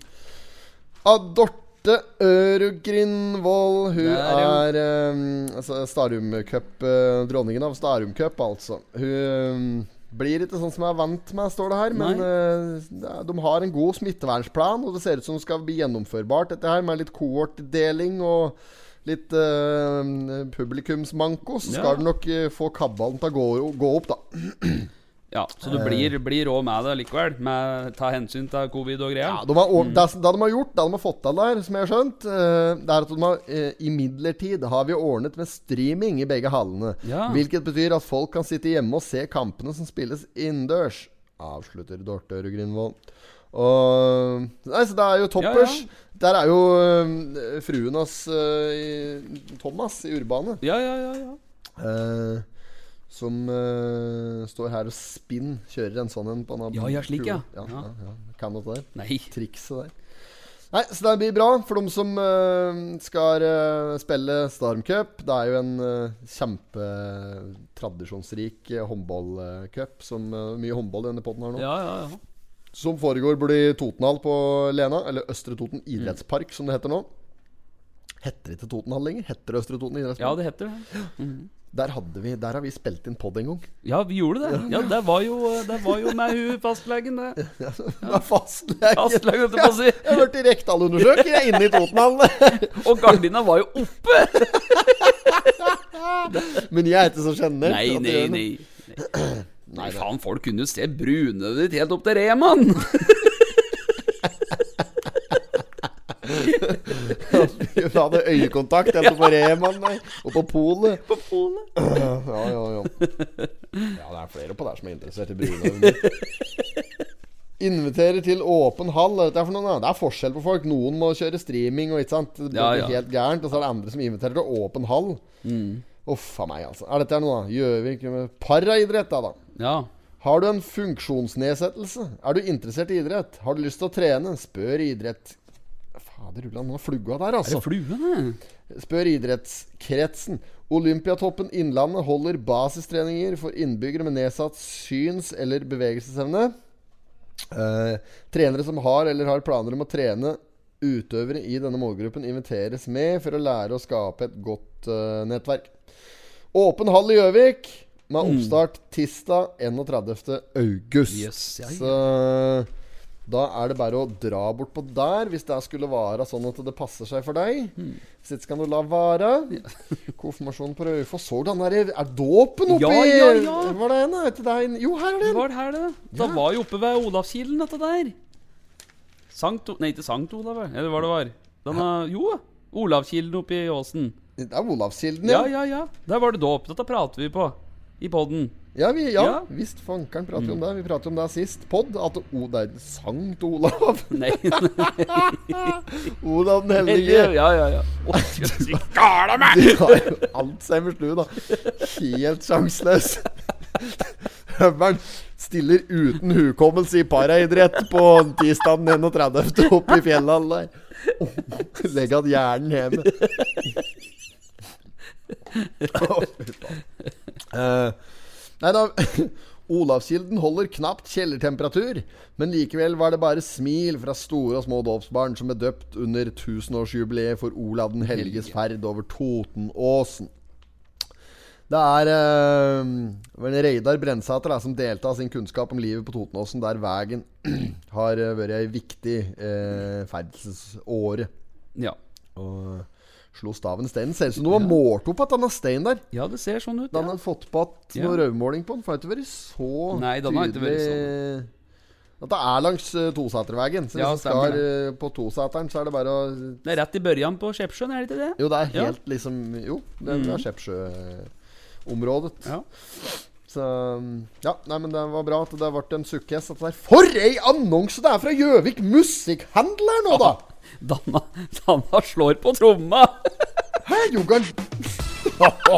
Speaker 1: Adorte Ørugrinvold. Hun
Speaker 2: Der, ja.
Speaker 1: er ehm, altså Starum Cup, eh, dronningen av Starum Cup, altså. Hun ehm, blir ikke sånn som jeg er vant med, står det her. Men eh, det er- de har en god smittevernplan, og det ser ut som det skal bli gjennomførbart, dette her, med litt kohortdeling og litt eh, publikumsmanko. Så
Speaker 2: Ja.
Speaker 1: skal du nok eh, få kabalen til å gå, gå opp, da.
Speaker 2: Ja, så
Speaker 1: Eh.
Speaker 2: du blir, blir rå med det likevel? Med ta hensyn til covid og
Speaker 1: Ja,
Speaker 2: greier?
Speaker 1: de har, or- det, som- det de har gjort, det de har fått til der, som jeg har skjønt, eh, det er at de har eh, imidlertid har vi ordnet med streaming i begge hallene.
Speaker 2: Ja.
Speaker 1: Hvilket betyr at folk kan sitte hjemme og se kampene som spilles innendørs. Avslutter Dorte Grindvold. Og Nei, så det er jo toppers.
Speaker 2: Ja,
Speaker 1: Der er jo eh, fruen hans, eh, i- Thomas, i Urbane.
Speaker 2: Ja, ja, ja. ja.
Speaker 1: Eh, som eh, står her og spinn kjører en sånn en på en
Speaker 2: Ja, ja, slik, ja.
Speaker 1: ja,
Speaker 2: Ja.
Speaker 1: ja, ja. Kan dette der.
Speaker 2: Nei.
Speaker 1: Trikset der. Nei, så det blir bra for dem som eh, skal eh, spille Storm Cup. Det er jo en eh, kjempetradisjonsrik eh, håndballcup. Som eh, mye håndball i denne potten her nå.
Speaker 2: Ja, ja, ja.
Speaker 1: Som foregår blir Totenhall på Lena. Eller Østre Toten idrettspark, som det heter nå. Heter det ikke Totenhall lenger? Heter det Østre Toten
Speaker 2: Ja,
Speaker 1: idrettspark?
Speaker 2: det heter det.
Speaker 1: der, hadde vi, der har vi spilt inn pod en gang.
Speaker 2: Ja, vi gjorde det. Ja, Det var jo, det var jo med hun fastlegen, det.
Speaker 1: Med fastlegen.
Speaker 2: Fastlegen, holdt jeg på å si.
Speaker 1: Jeg har vært i Rekdal-undersøker, jeg, inne i Totenhall.
Speaker 2: Og gardina var jo oppe!
Speaker 1: Men jeg er ikke så sjenert.
Speaker 2: Nei,
Speaker 1: at jeg
Speaker 2: nei,
Speaker 1: gjør noe.
Speaker 2: nei. Nei, faen, folk kunne jo se brunet ditt helt opp til Reman!
Speaker 1: Vi hadde øyekontakt helt på Reman nei, og på polet.
Speaker 2: På polet.
Speaker 1: Ja, ja, ja. Ja, det er flere på der som er interessert i brune. Inviterer til åpen hall. Hva er dette for noe, da? Det er forskjell på folk. Noen må kjøre streaming, og, ikke sant? det blir
Speaker 2: Ja, ja. Mm.
Speaker 1: helt gærent. Og så er det andre som inviterer til åpen hall. Uff a meg, altså. Er dette noe, da? Gjøvik Paraidrett, da, da.
Speaker 2: Ja.
Speaker 1: Har du en funksjonsnedsettelse? Er du interessert i idrett? Har du lyst til å trene? Spør idrett... Fader ulland, nå er flugga der,
Speaker 2: Er
Speaker 1: altså.
Speaker 2: det fluene?
Speaker 1: Spør idrettskretsen. Olympiatoppen Innlandet holder basistreninger for innbyggere med nedsatt syns- eller bevegelsesevne. Eh, trenere som har eller har planer om å trene utøvere i denne målgruppen inviteres med for å lære å skape et godt eh, nettverk. Åpen hall i Gjøvik med
Speaker 2: Mm.
Speaker 1: oppstart tirsdag 31. august.
Speaker 2: Yes, ja, ja.
Speaker 1: Så da er det bare å dra bort på der, hvis det skulle være sånn at det passer seg for deg.
Speaker 2: Hmm.
Speaker 1: Hvis ikke skal du la være. Konfirmasjonen på Raufoss. Så du den der Er dåpen oppi
Speaker 2: Ja, ja, ja.
Speaker 1: Var det en? Etter deg? Jo, her er
Speaker 2: Det
Speaker 1: den!
Speaker 2: var det her, det. Da
Speaker 1: Ja.
Speaker 2: var jo oppe ved Olavskilen, dette der. Sankt O- Nei, ikke Sankt Olav, vel? eller hva det var. Den er, jo, Olavskilen oppe i åsen.
Speaker 1: Det er Olavskilden,
Speaker 2: Ja, ja, ja. Der var det dåp. Dette prater vi på i poden.
Speaker 1: Ja, vi, ja,
Speaker 2: Ja. Hmm.
Speaker 1: visst fankeren prater jo om det. Vi pratet om det sist podd. At o, det er Sankt Olav.
Speaker 2: Nei, nei.
Speaker 1: Olav den hellige.
Speaker 2: Ja, ja, ja. Å, jøss.
Speaker 1: De har jo alt seg med slu, da. Helt sjanseløs. Høveren stiller uten hukommelse i paraidrett på tirsdag den 31. oppe i fjellet der. Legg igjen hjernen hjemme. Å, fy faen. Eh, Nei da. Olavskilden holder knapt kjellertemperatur, men likevel var det bare smil fra store og små dåpsbarn som er døpt under tusenårsjubileet for Olav den helges ferd over Totenåsen. Det er eh, det var en Reidar Brensæter da, som delte av sin kunnskap om livet på Totenåsen, der veien har eh, vært ei viktig eh, ferdselsåre.
Speaker 2: ja.
Speaker 1: Og slo staven steinen. Ser ut som noe var målt opp at denne steinen der.
Speaker 2: ja, det ser sånn ut.
Speaker 1: Den
Speaker 2: Ja.
Speaker 1: har fått på at
Speaker 2: Ja.
Speaker 1: noe røvmåling på den. For det har ikke vært så
Speaker 2: Nei, den har ikke vært
Speaker 1: At det er langs uh, Tosatervegen. Så
Speaker 2: Ja,
Speaker 1: hvis du
Speaker 2: stemmer
Speaker 1: skal eh, på Tosateren, så er det bare å
Speaker 2: Det er rett i børjan på Skjepsjøen, er det ikke det?
Speaker 1: Jo, det er
Speaker 2: Ja. Mm.
Speaker 1: helt liksom Jo, det, det er Skjeppsjøområdet.
Speaker 2: Ja.
Speaker 1: Så Ja, nei, men det var bra at det ble en sukkes. dette der. For ei annonse det er fra Gjøvik Musikkhandel her nå, da!
Speaker 2: Danna, Danna slår på tromma!
Speaker 1: Hæ, Jogan?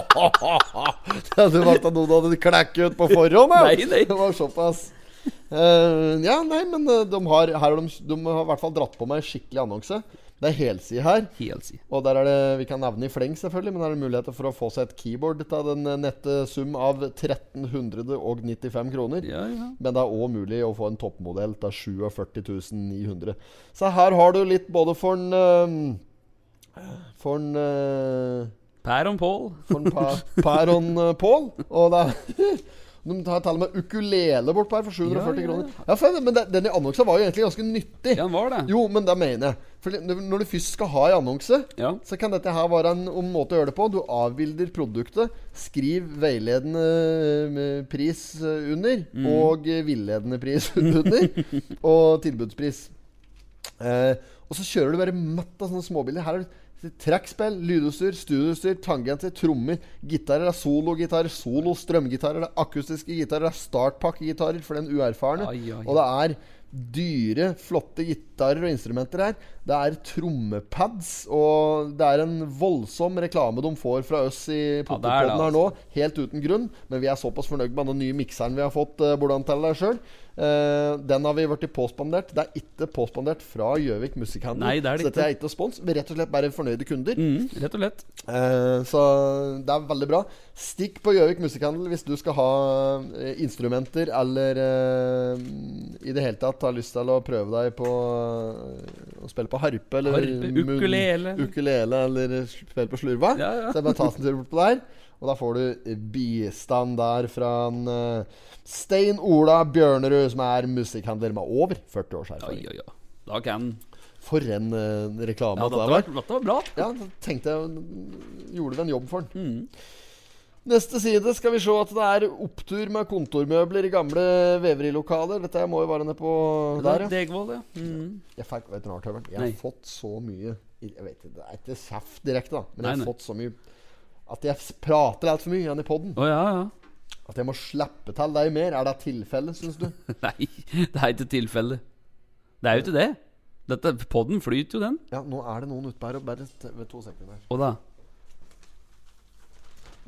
Speaker 1: det hadde vært at noen hadde klekket ut på forhånd. da.
Speaker 2: Nei, nei.
Speaker 1: Det var såpass. Eh, ja, nei, men eh, de har, her har de, de har i hvert fall dratt på meg en skikkelig annonse. Det er helside her.
Speaker 2: Helt si.
Speaker 1: Og der er det, Vi kan nevne i fleng, selvfølgelig, men der er det muligheter for å få seg et keyboard til den eh, nette sum av 1395 kroner.
Speaker 2: Ja, ja.
Speaker 1: Men det er òg mulig å få en toppmodell til 47 900. Så her har du litt både for en eh, For en eh,
Speaker 2: Per og Pål.
Speaker 1: for en pa, Per og en eh, Pål. Og det er De tar til og med ukulele bort på her for 740
Speaker 2: Ja, ja, ja.
Speaker 1: kroner. Ja, for, men det, denne annonsen var jo egentlig ganske nyttig.
Speaker 2: Ja, han var det.
Speaker 1: Jo, men det mener jeg. For det- når du først skal ha en annonse,
Speaker 2: Ja.
Speaker 1: så kan dette her være en, en måte å gjøre det på. Du avbilder produktet, skriv veiledende eh, pris eh, under,
Speaker 2: Mm.
Speaker 1: og eh, villedende pris under, og tilbudspris. Eh, og så kjører du bare matt av sånne småbilder. Her er det trekkspill, lydutstyr, studioutstyr, tangenter, trommer, gitarer. Det er sologitarer, solo strømgitarer, det er akustiske gitarer, det er startpakkegitarer for den uerfarne.
Speaker 2: Ai, ai,
Speaker 1: Og det er dyre, flotte gitarer og instrumenter her. Det er trommepads, og det er en voldsom reklame de får fra oss i
Speaker 2: Ja, det altså. er det,
Speaker 1: Potterpodden her nå, helt uten grunn. Men vi er såpass fornøyd med den nye mikseren vi har fått, eh, hvordan til deg sjøl. den har vi blitt påspandert. Det er ikke påspandert fra Gjøvik Musikkhandel.
Speaker 2: Nei, det er det
Speaker 1: så dette er ikke spons. Vi er rett og slett bare fornøyde kunder.
Speaker 2: Mm, rett og slett.
Speaker 1: Eh, Så det er veldig bra. Stikk på Gjøvik Musikkhandel hvis du skal ha eh, instrumenter eller eh, i det hele tatt har lyst til å prøve deg på eh, å spille på harpe eller
Speaker 2: Harpe,
Speaker 1: mun-
Speaker 2: ukulele.
Speaker 1: ukulele eller spille på slurva.
Speaker 2: Ja, ja.
Speaker 1: Så det er bare å ta seg en tur bort på der. Og da får du bistand der fra en, eh, Stein Ola Bjørnerud, som er musikkhandler med over 40 års
Speaker 2: Ja,
Speaker 1: erfaring.
Speaker 2: ja, ja. Da kan
Speaker 1: For en eh, reklame
Speaker 2: ja,
Speaker 1: det
Speaker 2: dette,
Speaker 1: var.
Speaker 2: var, dette var bra.
Speaker 1: Ja, da tenkte jeg Gjorde vi en jobb for den.
Speaker 2: Mm.
Speaker 1: Neste side skal vi se at det er opptur med kontormøbler i gamle veverilokaler. Dette må jo være nede på der, ja.
Speaker 2: Degvold, ja. Mm.
Speaker 1: Jeg, fikk, vet du, noe, Tøveren? jeg
Speaker 2: Nei.
Speaker 1: har fått så mye Jeg vet ikke, Det er ikke kjeft direkte, da, men jeg
Speaker 2: Nei,
Speaker 1: har
Speaker 2: nei.
Speaker 1: fått så mye at jeg s- prater altfor mye igjen i poden.
Speaker 2: Å ja, ja.
Speaker 1: At jeg må slippe til deg mer. Er det tilfellet, syns du?
Speaker 2: Nei, det er ikke tilfelle. Det er jo ikke det. Dette, podden flyter jo, den.
Speaker 1: Ja, nå er det noen ute her og bare t- Ved to sekunder.
Speaker 2: Å da.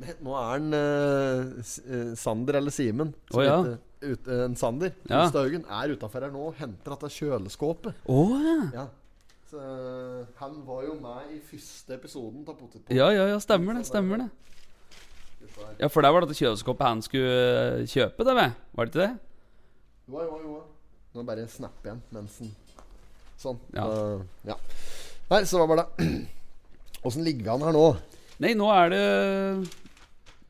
Speaker 1: Nei, Nå er han eh, S- eh, Sander eller Simen. som
Speaker 2: Å, ja.
Speaker 1: heter- ut- eh, en Sander
Speaker 2: Ja.
Speaker 1: Hustaugen er utafor her nå og henter dette kjøleskåpet.
Speaker 2: Å ja.
Speaker 1: Ja. Så, eh, han var jo med i første episoden av Potetpop.
Speaker 2: Ja, ja, ja, stemmer det. Stemmer det. Ja, for der var dette kjøleskapet han skulle eh, kjøpe, det, vel? Var det ikke det?
Speaker 1: Jo, jo, jo. Nå bare snapper igjen mens han Sånn.
Speaker 2: Ja.
Speaker 1: Eh, ja. Nei, så hva var det? Åssen ligger vi an her nå?
Speaker 2: Nei, nå er det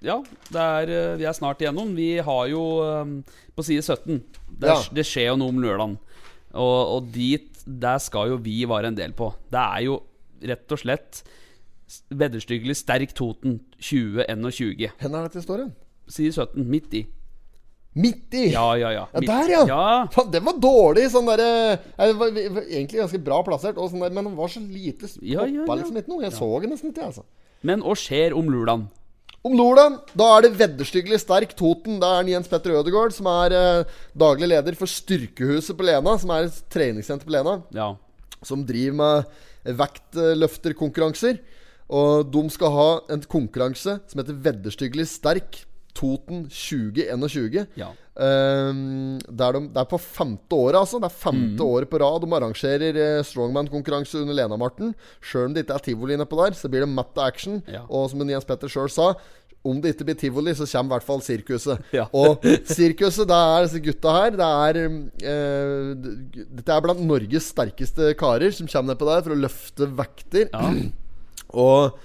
Speaker 2: Ja, det er, eh, vi er snart igjennom. Vi har jo eh, På side 17 Det, er-
Speaker 1: Ja.
Speaker 2: det skjer jo noe om lørdagen. Og, og dit Der skal jo vi være en del på. Det er jo rett og slett s- Vedderstyggelig sterk Toten 2021.
Speaker 1: Hvor er dette står hen?
Speaker 2: Side 17, midt i.
Speaker 1: Midt i!
Speaker 2: Ja, ja, ja.
Speaker 1: Ja,
Speaker 2: Midt-
Speaker 1: der, ja!
Speaker 2: ja.
Speaker 1: Faen, den var dårlig! Sånn der, eh, det var vi- vi- Egentlig ganske bra plassert, og sånn der, men den var så lite poppa
Speaker 2: Ja, ja, ja.
Speaker 1: liksom ikke noe. Jeg så den nesten ikke, jeg, altså.
Speaker 2: Men hva skjer om lørdagen?
Speaker 1: Om Nordland, da er det vedderstyggelig sterk Toten. Da er det Jens Petter Ødegaard, som er eh, daglig leder for Styrkehuset på Lena, som er et treningssenter på Lena,
Speaker 2: Ja.
Speaker 1: som driver med vektløfterkonkurranser. Og de skal ha en konkurranse som heter Vedderstyggelig sterk Toten 2021.
Speaker 2: Ja.
Speaker 1: Ehm, det, er de, det er på femte året, altså. Det er
Speaker 2: Mm.
Speaker 1: femte året på rad de arrangerer eh, strongman-konkurranse under Lena-Marten. Sjøl om det ikke er tivoli nedpå der, så blir det matt og action.
Speaker 2: Ja.
Speaker 1: Og som Jens Petter sjøl sa, om det ikke blir tivoli, så kommer i hvert fall sirkuset.
Speaker 2: Ja.
Speaker 1: Og sirkuset, det er disse gutta her. Det er eh, d- Dette er blant Norges sterkeste karer som kommer nedpå der for å løfte vekter.
Speaker 2: ja.
Speaker 1: Og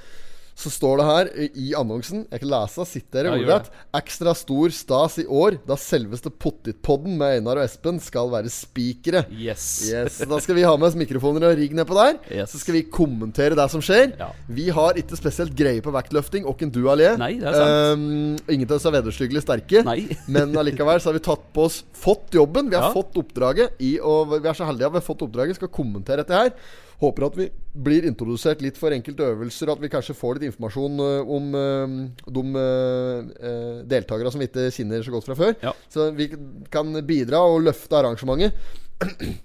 Speaker 1: så står det her i- i annonsen Jeg kan lese, sitter dere
Speaker 2: Ja, gjør
Speaker 1: ordrett. Ekstra stor stas i år, da selveste Pottitpodden med Einar og Espen skal være spikere.
Speaker 2: Yes.
Speaker 1: Yes, Da skal vi ha med oss mikrofoner og rigg nedpå der.
Speaker 2: Yes.
Speaker 1: Så skal vi kommentere det som skjer.
Speaker 2: Ja.
Speaker 1: Vi har ikke spesielt greie på vektløfting, åkken du alene.
Speaker 2: Nei, det er sant.
Speaker 1: Um, ingen av oss er vederstyggelig sterke.
Speaker 2: Nei.
Speaker 1: Men allikevel så har vi tatt på oss Fått jobben. Vi har
Speaker 2: Ja.
Speaker 1: fått oppdraget. I, og vi er så heldige at vi har fått oppdraget. Skal kommentere dette her. Håper at vi blir introdusert litt for enkelte øvelser, og at vi kanskje får litt informasjon ø, om ø, de uh, deltakerne som vi ikke kjenner så godt fra før.
Speaker 2: Ja.
Speaker 1: Så vi kan bidra og løfte arrangementet.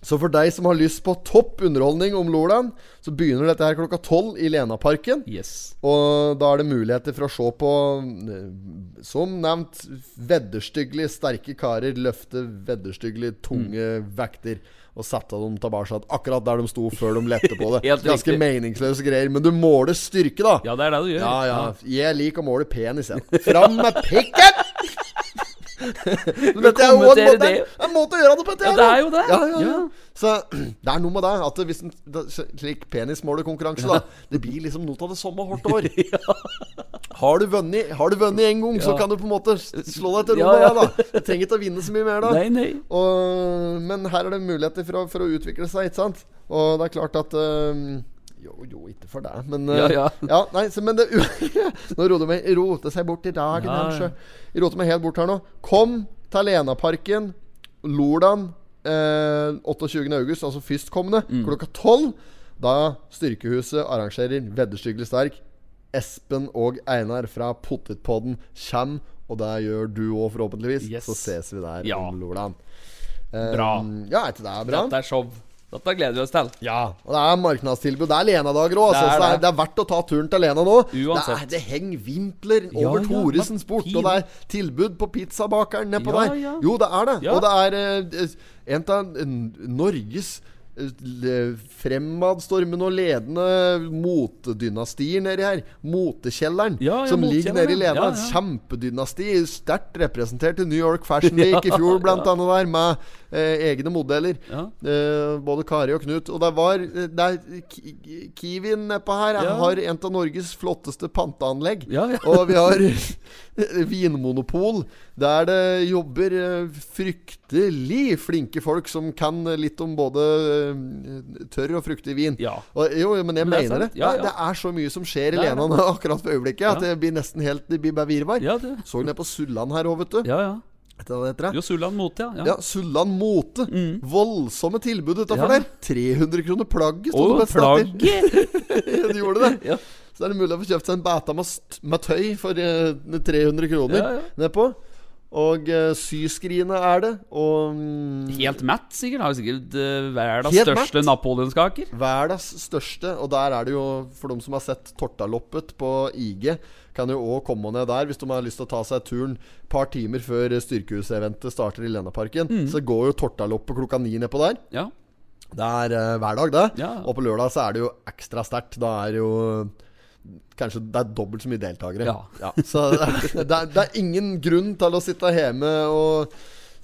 Speaker 1: Så for deg som har lyst på topp underholdning om Lolan, så begynner dette her klokka tolv i Lenaparken.
Speaker 2: Yes.
Speaker 1: Og da er det muligheter for å se på, eh, som nevnt, vedderstyggelig sterke karer løfte vedderstyggelig tunge
Speaker 2: Mm.
Speaker 1: vekter og sette dem tilbake akkurat der de sto før de lette på det.
Speaker 2: Helt
Speaker 1: Ganske
Speaker 2: riktig.
Speaker 1: meningsløse greier, men du måler styrke, da.
Speaker 2: Ja, det er det du gjør.
Speaker 1: Ja, ja. Jeg liker å måle penis, jeg. Fram med pikken! Men dette er jo en
Speaker 2: kommenterer
Speaker 1: måte,
Speaker 2: det.
Speaker 1: en måte å gjøre det på. Dette
Speaker 2: Ja,
Speaker 1: her,
Speaker 2: det
Speaker 1: da.
Speaker 2: er jo det.
Speaker 1: Ja, ja, ja.
Speaker 2: Ja.
Speaker 1: Så det er noe med det. At det- hvis en da- slik penismålerkonkurranse, da Det blir liksom noe av det samme hvert år. Har du vunnet Har du vunnet en gang, så
Speaker 2: Ja.
Speaker 1: kan du på en måte slå deg til ro
Speaker 2: Ja,
Speaker 1: med
Speaker 2: ja.
Speaker 1: det, da. Du trenger ikke å vinne så mye mer, da.
Speaker 2: Nei, nei.
Speaker 1: Og, men her er det muligheter for å, for å utvikle seg, ikke sant? Og det er klart at øhm, Jo, jo, ikke for deg, men øh,
Speaker 2: Ja, ja.
Speaker 1: nei, så, men det, Nå roter meg, rote seg bort i dagen,
Speaker 2: Ja, ja.
Speaker 1: kanskje. Jeg roter meg helt bort her nå. Kom til Lenaparken, Lordan, eh, 28. august, altså førstkommende,
Speaker 2: Mm.
Speaker 1: klokka 12. Da Styrkehuset arrangerer Vedderstyggelig sterk. Espen og Einar fra Pottitpodden kommer, og det gjør du òg, forhåpentligvis.
Speaker 2: Yes.
Speaker 1: Så ses vi der
Speaker 2: Ja.
Speaker 1: om Lolan. Eh,
Speaker 2: Bra.
Speaker 1: Ja, er ikke det bra?
Speaker 2: Dette er show. Dette gleder vi oss til.
Speaker 1: Ja. Og det er markedstilbud. Det er Lena-dager òg,
Speaker 2: Det
Speaker 1: altså.
Speaker 2: er
Speaker 1: så det, er-
Speaker 2: det.
Speaker 1: det er verdt å ta turen til Lena nå.
Speaker 2: Uansett.
Speaker 1: Det, er, det henger vimpler over
Speaker 2: ja,
Speaker 1: Thoresen
Speaker 2: men
Speaker 1: Sport,
Speaker 2: fin.
Speaker 1: og det er tilbud på pizzabakeren nedpå
Speaker 2: Ja,
Speaker 1: der.
Speaker 2: ja.
Speaker 1: Jo, det er det.
Speaker 2: Ja.
Speaker 1: Og det er eh, en av eh, Norges eh, le- fremadstormende og ledende motedynastier nedi her. Motekjelleren,
Speaker 2: Ja, ja,
Speaker 1: som ligger nede i
Speaker 2: motekjelleren, ja.
Speaker 1: Lena.
Speaker 2: Ja, ja.
Speaker 1: Kjempedynasti, sterkt representert i New York Fashion Week i fjor, blant annet der, med eh, egne modeller.
Speaker 2: Ja.
Speaker 1: Eh, både Kari og Knut. Og det var eh, det er Ki- Ki- Kiwin nedpå her eh,
Speaker 2: Ja.
Speaker 1: har en av Norges flotteste panteanlegg.
Speaker 2: Ja, ja.
Speaker 1: Og vi har vinmonopol, der det jobber eh, fryktelig flinke folk som kan litt om både eh, tørr og fruktig vin.
Speaker 2: Ja.
Speaker 1: Og, jo, jo, men jeg
Speaker 2: Men det er
Speaker 1: mener det.
Speaker 2: sant. Ja,
Speaker 1: Det,
Speaker 2: ja.
Speaker 1: det er så mye som skjer i
Speaker 2: Det er
Speaker 1: Lena
Speaker 2: det.
Speaker 1: nå akkurat for øyeblikket, at
Speaker 2: Ja.
Speaker 1: det blir nesten helt Det blir bare virvar.
Speaker 2: Ja, det.
Speaker 1: Så ned på Sulland her òg, vet du.
Speaker 2: ja, ja.
Speaker 1: Vet du hva det heter?
Speaker 2: Jo, Sulland Mote, ja. Mm.
Speaker 1: Ja, Sulland Mote. Voldsomme tilbud utafor
Speaker 2: Ja.
Speaker 1: der. 300 kroner plagget sto
Speaker 2: Og
Speaker 1: det på et stativ.
Speaker 2: plagget!
Speaker 1: Du gjorde det.
Speaker 2: Ja.
Speaker 1: Så er det mulig å få kjøpt seg en bæta med, st- med tøy for eh, 300 kroner
Speaker 2: Ja, ja.
Speaker 1: nedpå. Og uh, syskrinet er det. Og mm,
Speaker 2: Helt matt, sikkert. Har jo sikkert eh, verdens
Speaker 1: Helt
Speaker 2: største
Speaker 1: matt.
Speaker 2: napoleonskaker.
Speaker 1: Verdens største, og der er det jo, for dem som har sett Tortaloppet på IG, kan jo òg komme ned der hvis de har lyst til å ta seg turen et par timer før Styrkehuseventet starter i Lennaparken.
Speaker 2: Mm.
Speaker 1: Så går jo Tortaloppet klokka ni nedpå der.
Speaker 2: Ja.
Speaker 1: Det er eh, hver dag, det.
Speaker 2: Ja.
Speaker 1: Og på lørdag så er det jo ekstra sterkt. Da er det jo Kanskje det er dobbelt så mye deltakere.
Speaker 2: Ja.
Speaker 1: Så det er, det, er, det er ingen grunn til å sitte hjemme og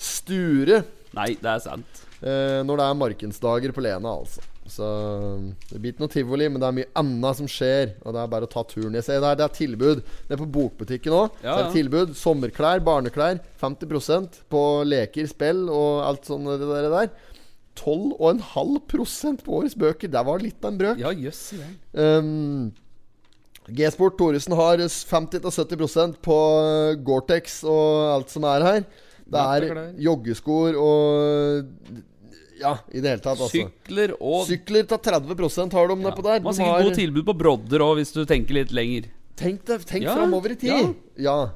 Speaker 1: sture.
Speaker 2: Nei, det er sant.
Speaker 1: eh, når det er markedsdager på Lena, altså. Så eh, det blir ikke noe tivoli, men det er mye annet som skjer. Og det er bare å ta turen. Jeg ser der, det er tilbud. Nede på bokbutikken òg.
Speaker 2: Ja, ja.
Speaker 1: Tilbud. Sommerklær, barneklær. 50 på leker, spill og alt sånt det der. der. 12,5 på årets bøker. Det var litt av en brøk.
Speaker 2: Ja, jøss. i verden.
Speaker 1: Um, G-sport Thoresen har 50-70 på eh, Gore-Tex og alt som er her. Det er
Speaker 2: Vinterklær.
Speaker 1: joggeskoer og Ja, i det hele tatt, altså.
Speaker 2: Sykler og
Speaker 1: Sykler tar 30 har de nedpå der.
Speaker 2: Man har
Speaker 1: De
Speaker 2: sikkert
Speaker 1: har-
Speaker 2: gode tilbud på brodder òg, hvis du tenker litt lenger.
Speaker 1: Tenk deg, tenk
Speaker 2: Ja,
Speaker 1: framover i tid! Ja.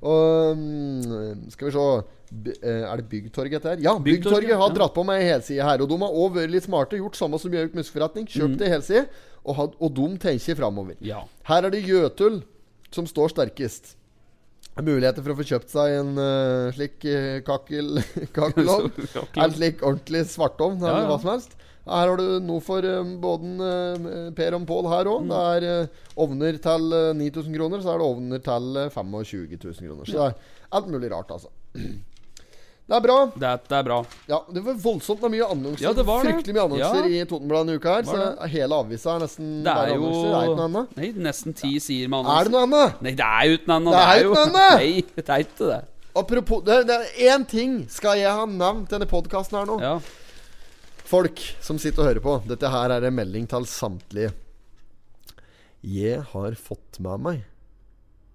Speaker 1: Og mm, skal vi se B eh, Er det Byggtorget dette her? Ja,
Speaker 2: Byggtorget,
Speaker 1: Byggtorget har
Speaker 2: ja.
Speaker 1: dratt på meg helside her. Og de har òg vært litt smarte, gjort samme som Gjøvik Muskeforretning. Kjøpt
Speaker 2: Mm.
Speaker 1: ei helside, og, had- og de tenker framover.
Speaker 2: Ja.
Speaker 1: Her er det Jøtul som står sterkest. Muligheter for å få kjøpt seg en eh, slik eh, kakkel, kakkelovn. En slik ordentlig svartovn eller
Speaker 2: Ja, ja.
Speaker 1: hva som helst. Her har du noe for um, både eh, Per og Pål her
Speaker 2: Mm.
Speaker 1: òg. Det er eh, ovner til eh, 9000 kroner, så er det ovner til eh, 25 000 kroner. Så det er alt mulig rart, altså. Det er bra.
Speaker 2: Det, er- det er bra.
Speaker 1: Ja, Det var voldsomt med mye annonser.
Speaker 2: Ja, det var det.
Speaker 1: Fryktelig mye annonser
Speaker 2: Ja.
Speaker 1: i Totenbladet denne uka her.
Speaker 2: Var
Speaker 1: Så hele avisa er nesten
Speaker 2: Det er
Speaker 1: bare
Speaker 2: jo
Speaker 1: annonser. Det er ikke noe annet.
Speaker 2: Nei, nesten ti sider med
Speaker 1: Er det
Speaker 2: annonser.
Speaker 1: noe annet?
Speaker 2: Nei, det er jo uten annet.
Speaker 1: Det er jo uten annet!
Speaker 2: Nei, det er ikke det.
Speaker 1: Apropos det, det er én ting skal jeg ha nevnt denne podkasten her nå.
Speaker 2: Ja.
Speaker 1: Folk som sitter og hører på. Dette her er en melding til samtlige. Jeg har fått med meg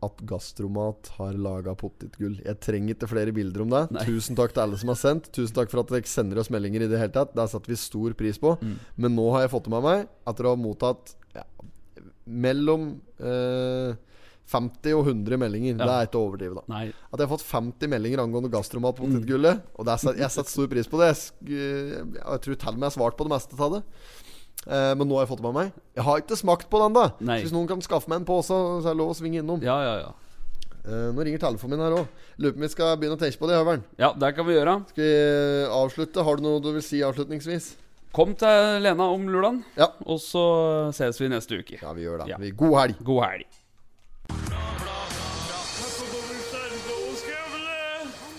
Speaker 1: at Gastromat har laga potetgull. Jeg trenger ikke flere bilder om det.
Speaker 2: Nei.
Speaker 1: Tusen takk til alle som har sendt. Tusen takk for at dere sender oss meldinger i det hele tatt. Det setter vi stor pris på.
Speaker 2: Mm.
Speaker 1: Men nå har jeg fått med meg at dere har mottatt ja, mellom eh, 50 og 100 meldinger. Det er ikke å overdrive, da.
Speaker 2: Nei.
Speaker 1: At jeg har fått 50 meldinger angående gastromat
Speaker 2: Mm.
Speaker 1: på potetgullet. Og det er, set- jeg setter stor pris på det. Jeg, sk- eh, jeg tror til og med jeg har svart på det meste av det. Eh, men nå har jeg fått det med meg. Jeg har ikke smakt på den, da.
Speaker 2: Nei.
Speaker 1: Så hvis noen kan skaffe meg en pose, så er det lov å svinge innom.
Speaker 2: Ja, ja, ja.
Speaker 1: Eh, nå ringer telefonen min her òg. Lurer på om vi skal begynne å tenke på det, Høveren.
Speaker 2: Ja, det kan vi gjøre.
Speaker 1: Skal vi avslutte? Har du noe du vil si avslutningsvis?
Speaker 2: Kom til Lena om lulaen,
Speaker 1: Ja.
Speaker 2: og så ses vi neste uke.
Speaker 1: Ja, vi gjør det.
Speaker 2: Ja.
Speaker 1: Vi- God helg.
Speaker 2: God helg.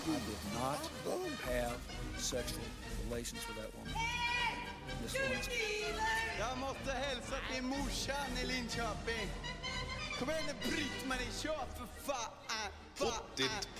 Speaker 3: He did not have sexual relations with that woman. Miss Lewinsky.
Speaker 4: Jag måste hälsa till morsan i Linköping. Kom igen nu, bryt mig i kör för fan. Fa-